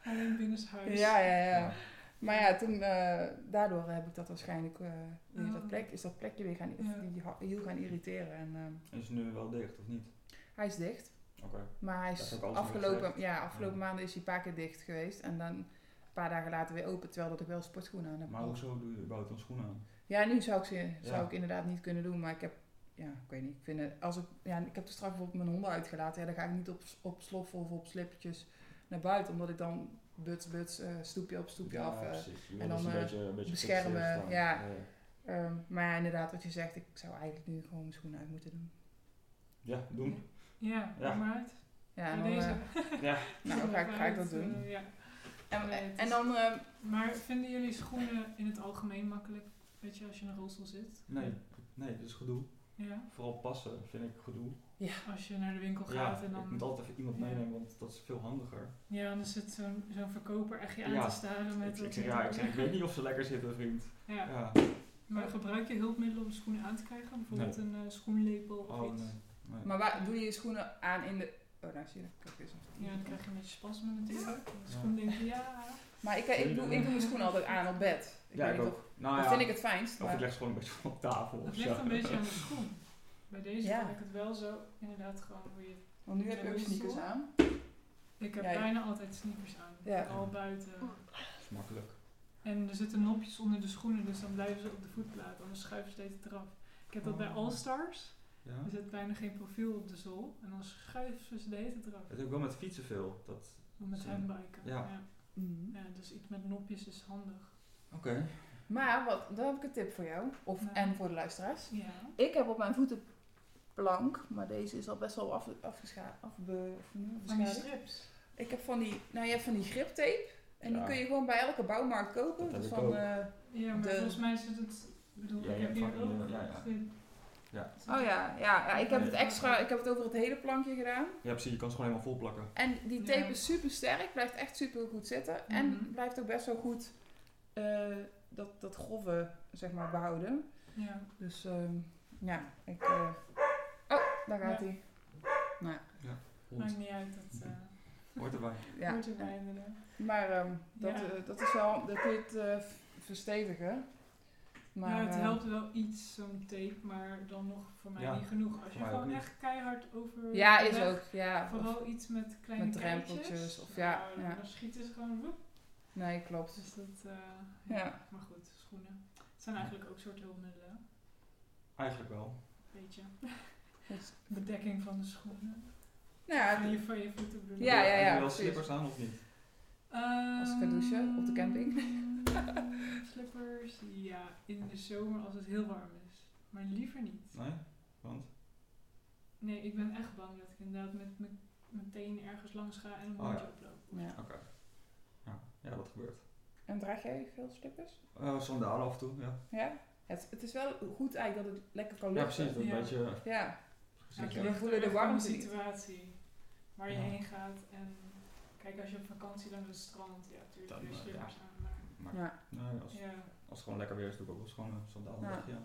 Speaker 4: Alleen binnenshuis.
Speaker 3: Ja, ja, ja.
Speaker 2: Ja.
Speaker 3: Maar ja, toen, eh, daardoor heb ik dat waarschijnlijk eh, weer
Speaker 4: Oh.
Speaker 3: dat plek, is dat plekje weer gaan, of
Speaker 4: Ja.
Speaker 3: die ha- hiel gaan irriteren. En ehm,
Speaker 2: Is het nu wel dicht of niet?
Speaker 3: hij is dicht.
Speaker 2: Oké.
Speaker 3: Maar hij
Speaker 2: Dat
Speaker 3: is
Speaker 2: is ook alles
Speaker 3: afgelopen,
Speaker 2: ingezet.
Speaker 3: ja, afgelopen
Speaker 2: Ja.
Speaker 3: maanden is hij een paar keer dicht geweest. En dan een paar dagen later weer open, terwijl dat ik wel sportschoenen aan heb.
Speaker 2: Maar hoezo doe je überhaupt een schoen aan?
Speaker 3: Ja, nu zou ik ze zou
Speaker 2: Ja.
Speaker 3: ik inderdaad niet kunnen doen. Maar ik heb, ja, ik weet niet. Ik, vind het, als ik, ja, ik heb de straf bijvoorbeeld mijn honden uitgelaten. Ja, dan ga ik niet op, op slof of op slippertjes naar buiten. Omdat ik dan buts, buts, eh, stoepje op stoepje af. eh,
Speaker 2: precies. Je
Speaker 3: en
Speaker 2: wil dus
Speaker 3: dan, eh,
Speaker 2: een beetje, een beetje
Speaker 3: beschermen,
Speaker 2: gefixeerd staan.
Speaker 3: ja. ehm, maar ja, inderdaad, wat je zegt, ik zou eigenlijk nu gewoon mijn schoenen uit moeten doen.
Speaker 2: Ja, doen.
Speaker 4: Ja,
Speaker 2: Ja.
Speaker 4: kom maar uit.
Speaker 3: Ja, en
Speaker 4: Bij
Speaker 3: dan,
Speaker 4: deze.
Speaker 3: eh,
Speaker 4: <laughs>
Speaker 3: nou, dan ga ik, ga ik dat doen.
Speaker 4: Eh, ja.
Speaker 3: En,
Speaker 4: Nee, het
Speaker 3: en
Speaker 4: is-
Speaker 3: dan, eh,
Speaker 4: Maar vinden jullie schoenen in het algemeen makkelijk? Weet je, als je in een rolstoel zit?
Speaker 2: Nee, nee, dat is gedoe.
Speaker 4: Ja.
Speaker 2: Vooral passen vind ik gedoe.
Speaker 4: Als je naar de winkel
Speaker 2: Ja,
Speaker 4: gaat en
Speaker 2: ik
Speaker 4: dan...
Speaker 2: moet altijd even iemand
Speaker 4: Ja.
Speaker 2: meenemen, want dat is veel handiger.
Speaker 4: Ja, dan zit zo'n zo'n verkoper echt je aan
Speaker 2: Ja.
Speaker 4: te staren
Speaker 2: Ik,
Speaker 4: met...
Speaker 2: ik,
Speaker 4: wat
Speaker 2: zeg,
Speaker 4: je
Speaker 2: ja,
Speaker 4: doet.
Speaker 2: ik, zeg, ik weet niet of ze lekker zitten, vriend.
Speaker 4: Ja.
Speaker 2: Ja.
Speaker 4: Maar gebruik je hulpmiddelen om schoenen aan te krijgen? Bijvoorbeeld een eh, schoenlepel of
Speaker 2: Oh,
Speaker 4: iets?
Speaker 2: nee. nee.
Speaker 3: maar waar, doe je je schoenen aan in de... Oh, nou zie je, kijk eens.
Speaker 4: Ja, dan krijg je een beetje spasme natuurlijk. De schoen denkt, ja...
Speaker 3: Maar ik, ik, doe, ik doe mijn schoenen altijd aan op bed.
Speaker 2: eh.
Speaker 3: Ik
Speaker 2: ja,
Speaker 3: weet
Speaker 2: ik
Speaker 3: niet
Speaker 2: ook.
Speaker 3: of-
Speaker 2: nou,
Speaker 3: dat
Speaker 2: ja.
Speaker 3: vind ik het fijnst.
Speaker 2: Of
Speaker 3: maar-
Speaker 2: ik leg ze gewoon een beetje op tafel of
Speaker 4: Dat
Speaker 2: zo.
Speaker 4: ligt een beetje aan de schoen. Bij deze
Speaker 3: Ja.
Speaker 4: vind ik het wel zo, inderdaad gewoon hoe je...
Speaker 3: Want nu heb je ook sneakers aan.
Speaker 4: Ik heb
Speaker 3: Ja, ja.
Speaker 4: bijna altijd sneakers aan.
Speaker 3: Ja.
Speaker 4: Al buiten.
Speaker 2: Dat is makkelijk.
Speaker 4: En er zitten nopjes onder de schoenen, dus dan blijven ze op de voetplaat. Anders schuiven ze steeds eraf. Ik heb dat bij
Speaker 2: Oh.
Speaker 4: All Stars.
Speaker 2: Ja.
Speaker 4: Er zit bijna geen profiel op de zool. En dan schuiven ze ze de hele tijd eraf.
Speaker 2: Dat heb ik wel met fietsen veel. Dat...
Speaker 4: Om Met
Speaker 2: Zo.
Speaker 4: handbiken.
Speaker 2: eh, Ja.
Speaker 4: Ja.
Speaker 2: Mhm.
Speaker 4: Ja, dus iets met nopjes is handig.
Speaker 2: Oké.
Speaker 3: Maar wat, dan heb ik een tip voor jou. Of,
Speaker 4: Nou.
Speaker 3: En voor de luisteraars.
Speaker 4: Ja.
Speaker 3: Ik heb op mijn voeten plank, maar deze is al best wel af, afgescha- afbe, of hoe noem je dat?
Speaker 4: Van die
Speaker 3: Beschadigd.
Speaker 4: strips.
Speaker 3: Ik heb van die, nou je hebt van die griptape. En die
Speaker 2: Ja.
Speaker 3: kun je gewoon bij elke bouwmarkt kopen.
Speaker 2: Dat heb
Speaker 3: Dus
Speaker 2: ik
Speaker 3: van,
Speaker 2: ook.
Speaker 3: eh,
Speaker 4: Ja, maar
Speaker 3: De-
Speaker 4: volgens mij zit het... Ik bedoel,
Speaker 2: Ja,
Speaker 4: ik
Speaker 2: ja,
Speaker 4: heb hier
Speaker 2: van- eh,
Speaker 4: ook...
Speaker 2: ja, ja.
Speaker 4: gezien. Dus
Speaker 2: Ja.
Speaker 3: oh ja, ja, ja, ik heb het
Speaker 4: Ja.
Speaker 3: extra, ik heb het over het hele plankje gedaan.
Speaker 2: Ja, precies. Je kan ze gewoon helemaal vol plakken.
Speaker 3: En die tape
Speaker 4: Ja.
Speaker 3: is super sterk, blijft echt super goed zitten.
Speaker 4: Mhm.
Speaker 3: En blijft ook best wel goed eh, dat, dat grove, zeg maar, behouden.
Speaker 4: Ja.
Speaker 3: Dus ehm, ja, ik. eh, Oh, daar gaat hij.
Speaker 4: Maakt niet uit, dat eh
Speaker 2: Hoort erbij.
Speaker 3: Ja.
Speaker 4: hoort erbij inderdaad.
Speaker 3: Maar ehm, dat,
Speaker 4: Ja.
Speaker 3: eh, dat is wel. Dat kun je het eh, v- verstevigen. Maar,
Speaker 4: nou, het
Speaker 3: eh,
Speaker 4: helpt wel iets, zo'n tape, maar dan nog voor mij
Speaker 2: Ja,
Speaker 4: niet genoeg.
Speaker 2: voor
Speaker 4: Als je
Speaker 2: mij ook
Speaker 4: gewoon
Speaker 2: niet.
Speaker 4: echt keihard over...
Speaker 3: ja,
Speaker 4: de
Speaker 3: is
Speaker 4: weg-
Speaker 3: ook. Ja. Of-
Speaker 4: Vooral iets met kleine
Speaker 3: met
Speaker 4: keitjes.
Speaker 3: drempeltjes of ja,
Speaker 4: Nou,
Speaker 3: ja.
Speaker 4: Dan schieten ze gewoon woep.
Speaker 3: nee, klopt.
Speaker 4: Dus dat, eh,
Speaker 3: Ja.
Speaker 4: ja. Maar goed, schoenen. Het zijn eigenlijk ook soort hulpmiddelen.
Speaker 2: Eigenlijk wel.
Speaker 4: Weet je.
Speaker 3: Dus-
Speaker 4: Bedekking van de schoenen.
Speaker 3: nou, ja,
Speaker 4: van,
Speaker 3: het-
Speaker 4: je, van je voeten bedoel ik.
Speaker 3: Ja, ja,
Speaker 2: Heb je
Speaker 3: ja,
Speaker 2: wel
Speaker 3: precies.
Speaker 2: slippers aan of niet?
Speaker 4: Ehm,
Speaker 3: ik ga douchen op de camping.
Speaker 4: <laughs> Slippers, ja, in de zomer als het heel warm is. Maar liever niet.
Speaker 2: Nee? Want?
Speaker 4: Nee, ik ben echt bang dat ik inderdaad met mijn mijn tenen ergens langs ga en een
Speaker 2: Oh,
Speaker 4: mondje
Speaker 2: ja.
Speaker 4: oploop.
Speaker 3: ja.
Speaker 2: Oké. Ja. ja, dat gebeurt.
Speaker 3: En draag jij veel slippers?
Speaker 2: Eh sandalen af en toe, ja.
Speaker 3: Ja. Het, het is wel goed eigenlijk dat het lekker kan
Speaker 2: Ja,
Speaker 3: luchten.
Speaker 2: precies. Dat
Speaker 4: Ja.
Speaker 2: een beetje...
Speaker 3: Ja.
Speaker 4: Ja,
Speaker 2: Precies,
Speaker 4: het
Speaker 2: ja.
Speaker 3: je
Speaker 4: ligt
Speaker 3: voelen
Speaker 4: er
Speaker 3: de
Speaker 4: echt aan
Speaker 3: warmte niet.
Speaker 4: situatie waar je
Speaker 2: Ja.
Speaker 4: heen gaat. En kijk, als je op vakantie dan naar het strand, ja, dus
Speaker 2: Dan,
Speaker 4: natuurlijk weer
Speaker 2: eh,
Speaker 4: slippers aan. Maar
Speaker 2: Maar
Speaker 3: Ja.
Speaker 2: nee, als,
Speaker 4: ja,
Speaker 2: als het gewoon lekker weer is, doe ik ook wel eens gewoon eh, een sandalen
Speaker 3: Ja.
Speaker 2: weg, ja.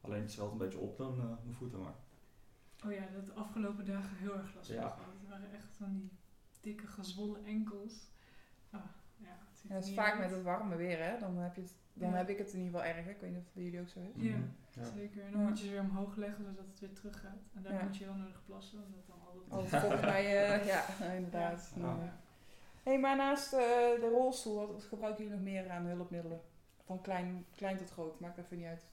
Speaker 2: Alleen het zwelt een beetje op dan eh, mijn voeten, maar
Speaker 4: Oh ja, dat de afgelopen dagen heel erg last van
Speaker 2: Ja.
Speaker 4: gehad. Het waren echt van die dikke gezwollen enkels. Ah, ja, het
Speaker 3: Ja,
Speaker 4: ziet
Speaker 3: dat
Speaker 4: er
Speaker 3: is
Speaker 4: niet
Speaker 3: vaak
Speaker 4: uit.
Speaker 3: met het warme weer, hè? Dan heb, je het, dan
Speaker 4: Ja.
Speaker 3: heb ik het in ieder geval erg. hè. Ik weet niet of het bij jullie ook zo is.
Speaker 4: Ja.
Speaker 2: Mhm, ja.
Speaker 4: Zeker. En dan
Speaker 3: Ja.
Speaker 4: moet je ze weer omhoog leggen zodat het weer terug gaat. En daar
Speaker 3: Ja.
Speaker 4: moet je heel nodig plassen, omdat dan altijd. <laughs>
Speaker 3: Als het volgens mij,
Speaker 2: <laughs>
Speaker 3: eh, ja, inderdaad.
Speaker 2: Ja.
Speaker 3: Nee. hey, maar naast eh, de rolstoel, wat- wat gebruiken jullie nog meer aan hulpmiddelen? Van klein, klein tot groot, maakt even niet uit.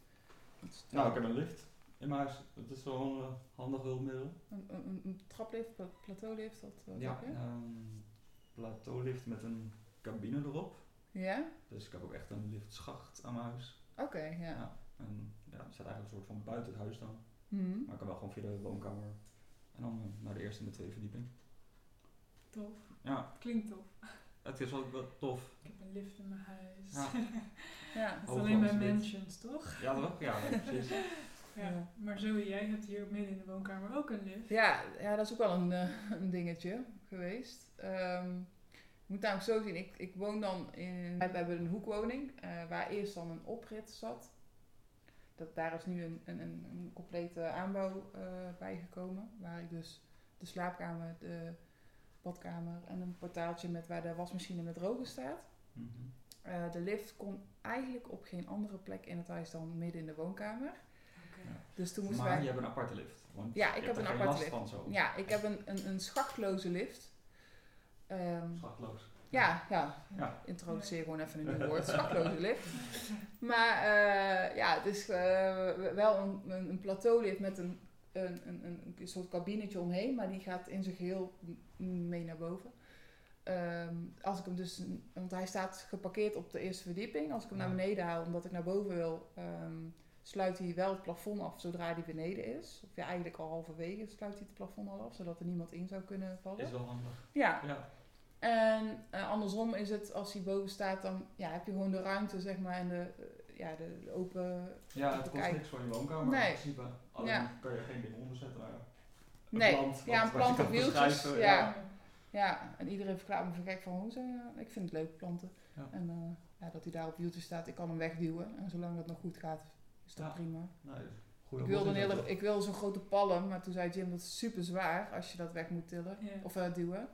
Speaker 2: Nou, ik heb een lift in mijn huis. Dat is wel een eh, handig hulpmiddel.
Speaker 3: Een, een, een- een traplift, pla- plateaulift, dat eh, wat
Speaker 2: Ja,
Speaker 3: heb je?
Speaker 2: een plateaulift Ehm, met een cabine erop.
Speaker 3: Ja?
Speaker 2: Dus ik heb ook echt een liftschacht aan mijn huis.
Speaker 3: Oké, ja.
Speaker 2: En ja, het staat eigenlijk een soort van buiten het huis dan.
Speaker 3: Mhm.
Speaker 2: Maar ik kan wel gewoon via de woonkamer. En dan eh, naar de eerste en de tweede verdieping.
Speaker 4: Tof.
Speaker 2: Ja,
Speaker 4: Klinkt tof.
Speaker 2: het is ook wel tof.
Speaker 4: Ik heb een lift in mijn huis.
Speaker 2: Ja.
Speaker 3: Ja.
Speaker 4: <laughs> Het is
Speaker 2: Hooglands
Speaker 4: alleen bij
Speaker 2: lift.
Speaker 4: mansions, toch?
Speaker 2: Ja, toch? Ja, nee,
Speaker 3: <laughs>
Speaker 2: precies.
Speaker 4: Ja.
Speaker 3: Ja.
Speaker 4: Maar Zoe, jij hebt hier midden in de woonkamer ook een lift.
Speaker 3: Ja, ja, dat is ook wel een, eh, een dingetje geweest. Ehm, ik moet namelijk zo zien, ik, ik woon dan in... We hebben een hoekwoning, eh, waar eerst dan een oprit zat. Dat, daar is nu een, een, een, een complete aanbouw eh, bijgekomen. Waar ik dus de slaapkamer, de badkamer en een portaaltje met waar de wasmachine met drogen staat.
Speaker 2: Mhm.
Speaker 3: Eh, de lift kon eigenlijk op geen andere plek in het huis dan midden in de woonkamer.
Speaker 4: Oké.
Speaker 2: Ja.
Speaker 3: Dus toen moesten
Speaker 2: Maar
Speaker 3: wij...
Speaker 2: je hebt een aparte lift. Want
Speaker 3: Ja, ik
Speaker 2: je
Speaker 3: heb
Speaker 2: hebt
Speaker 3: een
Speaker 2: er geen
Speaker 3: aparte
Speaker 2: last
Speaker 3: lift.
Speaker 2: van zo.
Speaker 3: Ja, ik heb een, een, een schachtloze lift. Ehm,
Speaker 2: Schachtloos.
Speaker 3: ja, ja.
Speaker 2: Ja.
Speaker 3: Introduceer gewoon even een nieuw woord. Schachtloze lift. Maar eh, ja, het is eh, wel een, een, een plateaulift met een, een, een, een soort kabinetje omheen. Maar die gaat in zijn geheel m- mee naar boven. Ehm, als ik hem dus, want hij staat geparkeerd op de eerste verdieping. Als ik hem
Speaker 2: Ja.
Speaker 3: naar beneden haal omdat ik naar boven wil, ehm, sluit hij wel het plafond af zodra hij beneden is. Of ja, eigenlijk al halverwege sluit hij het plafond al af, zodat er niemand in zou kunnen vallen.
Speaker 2: Is wel handig.
Speaker 3: Ja,
Speaker 2: Ja.
Speaker 3: en eh, andersom is het, als hij boven staat, dan ja, heb je gewoon de ruimte, zeg maar, en de, eh, ja, de, de open...
Speaker 2: ja, het kost
Speaker 3: Kijk.
Speaker 2: niks voor je woonkamer
Speaker 3: Nee.
Speaker 2: in principe. Alleen
Speaker 3: Ja.
Speaker 2: kan je geen ding onderzetten. Maar ja. Een
Speaker 3: Nee,
Speaker 2: plant,
Speaker 3: ja,
Speaker 2: wat-
Speaker 3: een
Speaker 2: wat je
Speaker 3: plant
Speaker 2: kan
Speaker 3: op wieltjes.
Speaker 2: verschuiven,
Speaker 3: Ja. ja, en iedereen verklaart me voor gek van, hoe ze, ik vind het leuk, planten.
Speaker 2: Ja.
Speaker 3: En eh, ja, dat hij daar op wieltjes staat, ik kan hem wegduwen. En zolang dat nog goed gaat, is dat
Speaker 2: Ja.
Speaker 3: prima.
Speaker 2: Nee, Nou, goede
Speaker 3: Ik wilde, een
Speaker 2: oplossing
Speaker 3: hele,
Speaker 2: dat.
Speaker 3: ik wilde zo'n grote palm, maar toen zei Jim, dat is super zwaar als je dat weg moet tillen.
Speaker 4: Ja.
Speaker 3: Of eh, duwen.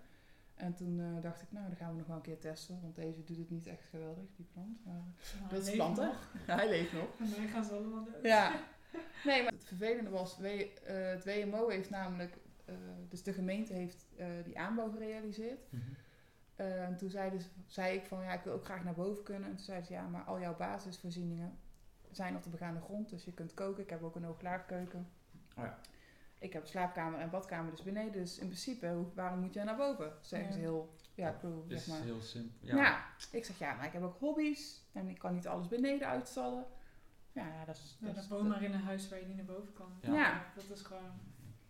Speaker 3: En toen eh, dacht ik, nou, dan gaan we nog wel een keer testen. Want deze doet het niet echt geweldig, die plant. Maar
Speaker 4: Nou,
Speaker 3: dat is
Speaker 4: leef
Speaker 3: planten.
Speaker 4: nog.
Speaker 3: <laughs> hij leeft nog.
Speaker 4: En wij gaan ze allemaal dood.
Speaker 3: Ja. <laughs> Nee, maar het vervelende was, W- eh, het WMO heeft namelijk, eh, dus de gemeente heeft eh, die aanbouw gerealiseerd.
Speaker 2: Mhm.
Speaker 3: Eh, en toen zeiden ze- zei ik van, ja, ik wil ook graag naar boven kunnen. En toen zeiden ze, ja, maar al jouw basisvoorzieningen zijn op de begaande grond. Dus je kunt koken, ik heb ook een hooglaagkeuken.
Speaker 2: Oh ja.
Speaker 3: Ik heb slaapkamer en badkamer dus beneden. Dus in principe, hoe- waarom moet jij naar boven? Zeggen
Speaker 4: Ja.
Speaker 3: ze heel, ja, cruel,
Speaker 2: Is
Speaker 3: zeg maar.
Speaker 2: Dus heel simpel.
Speaker 3: Ja.
Speaker 2: Ja.
Speaker 3: ik zeg ja, maar ik heb ook hobby's en ik kan niet alles beneden uitstallen. Ja, ja dat is.
Speaker 4: Ja,
Speaker 3: dat
Speaker 4: dan
Speaker 3: is-
Speaker 4: woon maar in een huis waar je niet naar boven kan.
Speaker 2: Ja.
Speaker 3: Ja.
Speaker 4: Dat is gewoon...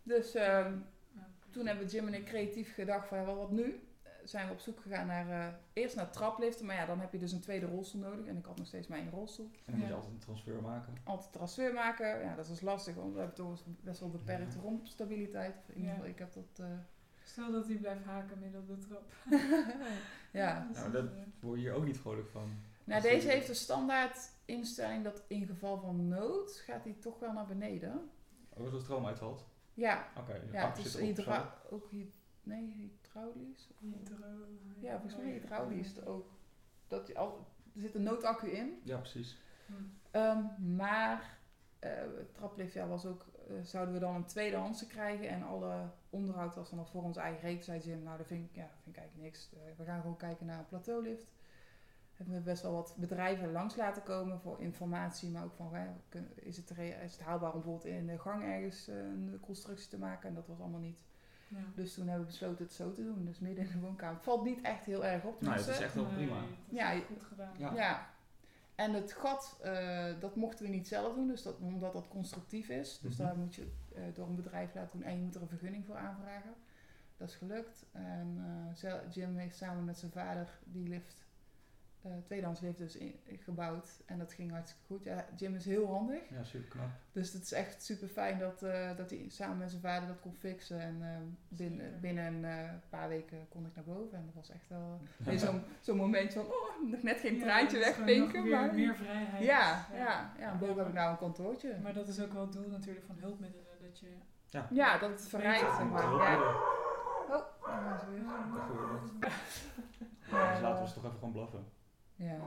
Speaker 3: Dus ehm,
Speaker 4: ja.
Speaker 3: toen hebben Jim en ik creatief gedacht van ja, wel, wat nu? Eh, Zijn we op zoek gegaan naar eh, eerst naar trapliften, maar ja, dan heb je dus een tweede rolstoel nodig en ik had nog steeds mijn rolstoel.
Speaker 2: En dan moet
Speaker 4: Ja.
Speaker 2: je altijd een transfer maken.
Speaker 3: Altijd transfer maken, ja, dat is lastig, want we hebben toch best wel beperkte rompstabiliteit. Of In ieder
Speaker 4: Ja.
Speaker 3: geval, ik heb dat. eh,
Speaker 4: Stel dat hij blijft haken midden op de trap.
Speaker 3: ja.
Speaker 4: dat is
Speaker 2: Ja, maar dat-
Speaker 4: niet, eh,
Speaker 2: Word je hier ook niet vrolijk van.
Speaker 3: Nou,
Speaker 2: Als die-
Speaker 3: deze heeft de standaard instelling dat in geval van nood gaat hij toch wel naar beneden.
Speaker 2: Ook Oh, als de stroom uitvalt.
Speaker 3: Ja,
Speaker 2: Oké, de
Speaker 3: Ja,
Speaker 2: kap
Speaker 3: het is
Speaker 2: zit erop,
Speaker 3: hydra ook hy nee, hydraulisch.
Speaker 4: hydro-
Speaker 3: Ja, volgens mij hydraulisch is het ook. Dat je al, er zit een noodaccu in.
Speaker 2: zo. Ja, precies.
Speaker 4: Hm.
Speaker 3: Ehm, maar eh het traplift ja, was ook, eh, zouden we dan een tweedehandse krijgen en alle onderhoud was dan nog voor ons eigen rekening. Zei Jim, nou dat vind ik, ja, vind ik eigenlijk niks. Eh, we gaan gewoon kijken naar een plateaulift. Hebben we best wel wat bedrijven langs laten komen voor informatie, maar ook van hè, kun- is, het re- is het haalbaar om bijvoorbeeld in de gang ergens eh, een constructie te maken? En dat was allemaal niet.
Speaker 4: Ja.
Speaker 3: Dus toen hebben we besloten het zo te doen. Dus midden in de woonkamer. Valt niet echt heel erg op.
Speaker 2: Nee, Nou, het
Speaker 3: tenminste.
Speaker 2: is echt wel
Speaker 4: Nee,
Speaker 2: prima.
Speaker 4: dat is
Speaker 3: Ja,
Speaker 4: wel goed gedaan.
Speaker 2: Ja.
Speaker 3: Ja. En het gat, eh, dat mochten we niet zelf doen. Dus dat, omdat dat constructief is. Dus
Speaker 2: Mhm.
Speaker 3: daar moet je eh, door een bedrijf laten doen. En je moet er een vergunning voor aanvragen. Dat is gelukt. En eh, zel- Jim heeft samen met zijn vader die lift eh, tweedehands lift dus in- gebouwd. En dat ging hartstikke goed. Ja, Jim is heel handig.
Speaker 2: Ja, super knap.
Speaker 3: Dus het is echt super fijn dat, eh, dat hij samen met zijn vader dat kon fixen. En eh, binnen,
Speaker 4: Zeker.
Speaker 3: binnen een eh, paar weken kon ik naar boven. En dat was echt wel weer
Speaker 2: <laughs>
Speaker 3: zo'n zo'n moment van, oh, nog net geen
Speaker 4: Ja,
Speaker 3: traantje
Speaker 4: dat is gewoon nog
Speaker 3: wegpinken.
Speaker 4: weer
Speaker 3: Maar...
Speaker 4: Meer vrijheid.
Speaker 3: Ja, ja, ja. En boven heb ik nou een kantoortje.
Speaker 4: Maar dat is ook wel het doel natuurlijk van hulpmiddelen. Dat je...
Speaker 3: Ja, dat het verrijkt, zeg maar. Ja.
Speaker 2: Ja,
Speaker 3: Oh, daar gaan ze weer.
Speaker 2: dat gebeurt niet. Ja, dus laten we ze toch even gewoon blaffen.
Speaker 3: Ja.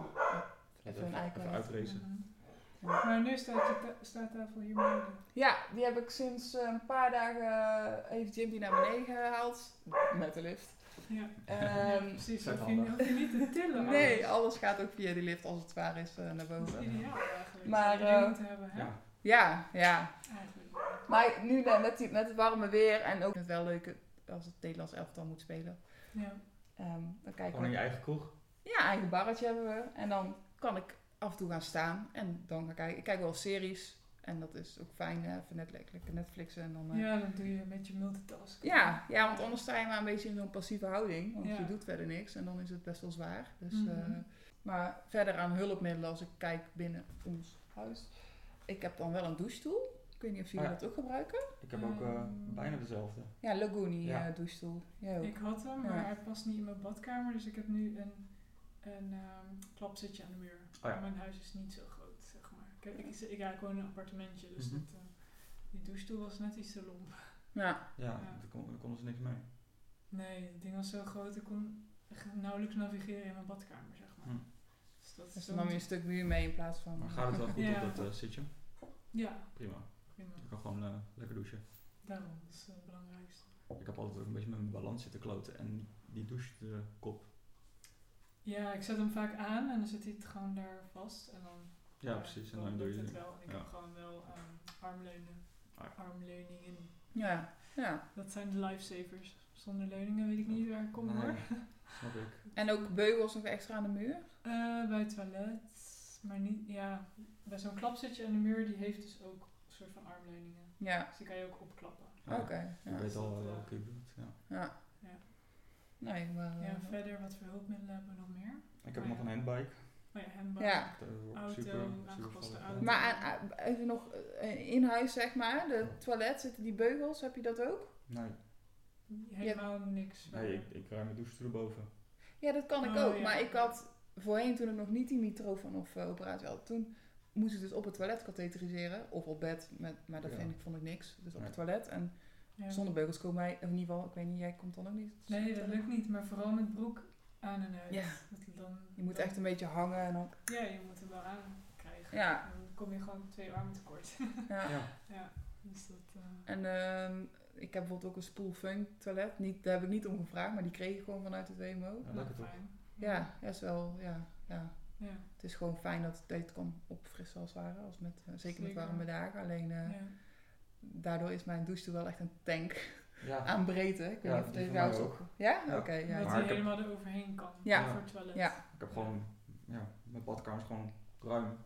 Speaker 3: Even een eikel.
Speaker 2: even uitracen.
Speaker 4: Mhm. Maar nu staat je ta- staattafel hier beneden.
Speaker 3: Ja, die heb ik sinds eh, een paar dagen eh, heeft Jim die naar beneden gehaald. Met de lift.
Speaker 4: Ja, ja
Speaker 3: Ehm,
Speaker 4: precies.
Speaker 2: dat
Speaker 4: Hoef je, hoef je niet te
Speaker 3: <laughs>
Speaker 4: tillen.
Speaker 3: nee, alles gaat ook via die lift als het waar is eh, naar
Speaker 4: Dat is
Speaker 3: boven.
Speaker 4: ideaal eigenlijk.
Speaker 3: Maar,
Speaker 4: Maar, je
Speaker 3: eh,
Speaker 4: moeten hebben, hè?
Speaker 2: Ja,
Speaker 3: Ja, ja.
Speaker 4: Eigenlijk.
Speaker 3: Maar nu eh, met, die, met het warme weer en ook het wel leuk als het Nederlands elftal moet spelen.
Speaker 4: Ja.
Speaker 3: Ehm, dan kijken
Speaker 2: gewoon in
Speaker 3: we.
Speaker 2: je eigen kroeg.
Speaker 3: Ja, eigen barretje hebben we. En dan kan ik af en toe gaan staan. En dan ga kijken. Ik kijk wel series. En dat is ook fijn. hè. Even net lekker Netflixen. En dan, eh,
Speaker 4: ja, dan doe je een beetje multitasken.
Speaker 3: Ja, ja, want anders sta je maar een beetje in zo'n passieve houding. Want
Speaker 4: Ja.
Speaker 3: je doet verder niks en dan is het best wel zwaar. Dus,
Speaker 4: Mhm.
Speaker 3: eh, maar verder aan hulpmiddelen als ik kijk binnen ons huis. Ik heb dan wel een douchestoel. Ik weet niet of jullie
Speaker 2: Ah, ja.
Speaker 3: dat ook gebruiken.
Speaker 2: Ik heb ook eh,
Speaker 4: Ehm.
Speaker 2: bijna dezelfde.
Speaker 3: Ja, Laguni
Speaker 2: Ja.
Speaker 3: eh, douchestoel. Jij ook.
Speaker 4: Ik had hem, maar
Speaker 3: Ja.
Speaker 4: hij past niet in mijn badkamer. Dus ik heb nu een, een ehm, klapzitje aan de muur.
Speaker 2: Oh ja.
Speaker 4: Mijn huis is niet zo groot, zeg maar. Ik, heb, ik, ik, ja, ik woon in een appartementje, dus
Speaker 2: Mhm.
Speaker 4: dat, eh, die douchestoel was net iets te lomp.
Speaker 3: Ja,
Speaker 2: Ja,
Speaker 4: Ja.
Speaker 2: daar kon- daar konden ze niks mee.
Speaker 4: Nee, het ding was zo groot, ik kon echt nauwelijks navigeren in mijn badkamer, zeg maar.
Speaker 2: Hm.
Speaker 4: Dus dat
Speaker 3: dus
Speaker 4: zo
Speaker 3: dan nam je een stuk muur mee in plaats van...
Speaker 2: Maar gaat het wel goed
Speaker 4: Ja.
Speaker 2: op dat eh, zitje?
Speaker 4: Ja,
Speaker 2: Prima.
Speaker 4: prima.
Speaker 2: Ik kan gewoon eh, lekker douchen.
Speaker 4: Daarom, dat is eh, het belangrijkste.
Speaker 2: Ik heb altijd ook een beetje met mijn balans zitten kloten. En die douche de kop.
Speaker 4: Ja, ik zet hem vaak aan en dan zit hij het gewoon daar vast. En dan,
Speaker 2: Ja, precies. En dan doe
Speaker 4: lukt
Speaker 2: je
Speaker 4: het
Speaker 2: het.
Speaker 4: wel. Ik
Speaker 2: Ja.
Speaker 4: heb gewoon wel ehm, armleunen.
Speaker 2: Ah ja.
Speaker 4: Armleuningen.
Speaker 3: Ja, ja.
Speaker 4: Dat zijn de lifesavers. Zonder leuningen weet ik niet waar ik kom
Speaker 2: Nee,
Speaker 4: hoor.
Speaker 2: <laughs> Snap ik.
Speaker 4: <laughs>
Speaker 3: En ook beugels nog extra aan de muur.
Speaker 4: Eh, bij het toilet, maar niet, ja, bij zo'n klapzitje aan de muur, die heeft dus ook een soort van armleuningen.
Speaker 3: Ja,
Speaker 4: Dus die kan je ook opklappen.
Speaker 2: Ja,
Speaker 3: oké.
Speaker 2: Ik
Speaker 3: Ja.
Speaker 2: weet al
Speaker 4: Dat,
Speaker 2: eh,
Speaker 4: eh,
Speaker 2: welke ik bedoel. Ja.
Speaker 3: Ja.
Speaker 4: Ja.
Speaker 3: Nee, maar... eh,
Speaker 4: Ja, verder, wat voor hulpmiddelen hebben we nog meer?
Speaker 2: Ik heb nog een handbike.
Speaker 4: Oh ja, handbag.
Speaker 3: Ja.
Speaker 2: Dat eh, wordt
Speaker 4: eh, Auto, aangepaste
Speaker 2: handig.
Speaker 4: auto.
Speaker 3: Maar aan- aan- even nog eh, in huis, zeg maar, de toilet, zitten die beugels, heb je dat ook?
Speaker 2: Nee,
Speaker 4: Helemaal niks.
Speaker 2: nee ik, ik ruim mijn douche erboven.
Speaker 3: Ja, dat kan ik
Speaker 4: Oh,
Speaker 3: ook.
Speaker 4: ja.
Speaker 3: Maar ik had voorheen, toen ik nog niet die Mitrofanov-operatie had, toen moest ik dus op het toilet katheteriseren. Of op bed, met, maar dat
Speaker 2: Ja.
Speaker 3: vind ik, vond ik niks. Dus op
Speaker 2: Nee.
Speaker 3: het toilet. En
Speaker 4: Ja.
Speaker 3: zonder beugels komen wij, in ieder geval, ik weet niet, jij komt dan ook niet.
Speaker 4: Nee, dat lukt niet, maar vooral met broek aan en uit.
Speaker 3: Ja.
Speaker 4: Dat dan,
Speaker 3: Je moet
Speaker 4: dan-
Speaker 3: echt een beetje hangen en dan...
Speaker 4: Ja, je moet hem wel aan krijgen.
Speaker 3: Ja.
Speaker 4: Dan kom je gewoon twee armen tekort. <laughs>
Speaker 3: Ja.
Speaker 2: Ja.
Speaker 4: ja, dus dat... eh,
Speaker 3: En ehm, ik heb bijvoorbeeld ook een spoelfunk toilet. Niet, daar heb ik niet om gevraagd, maar die kreeg ik gewoon vanuit het WMO.
Speaker 2: Ja,
Speaker 4: nou,
Speaker 2: lekker toch?
Speaker 4: fijn.
Speaker 3: Ja, ja, is wel, ja, ja.
Speaker 4: Ja.
Speaker 3: Het is gewoon fijn dat, dat je het kan opfrissen als het ware. Als met, eh, zeker, met
Speaker 4: Zeker.
Speaker 3: warme dagen. Alleen eh,
Speaker 4: ja.
Speaker 3: daardoor is mijn douche wel echt een tank
Speaker 2: Ja.
Speaker 4: Ah.
Speaker 3: aan breedte. Ik weet
Speaker 2: Ja,
Speaker 3: niet of
Speaker 2: die
Speaker 3: het
Speaker 2: van
Speaker 3: jou
Speaker 2: mij
Speaker 3: is
Speaker 2: ook.
Speaker 3: opge- Ja?
Speaker 2: Ja.
Speaker 3: Oké. ja,
Speaker 2: Maar
Speaker 4: dat
Speaker 3: ja.
Speaker 4: hij
Speaker 2: ik heb-
Speaker 4: helemaal eroverheen kan
Speaker 3: Ja.
Speaker 4: voor het toilet.
Speaker 3: Ja.
Speaker 2: Ik heb gewoon, ja, mijn badkamer is gewoon ruim.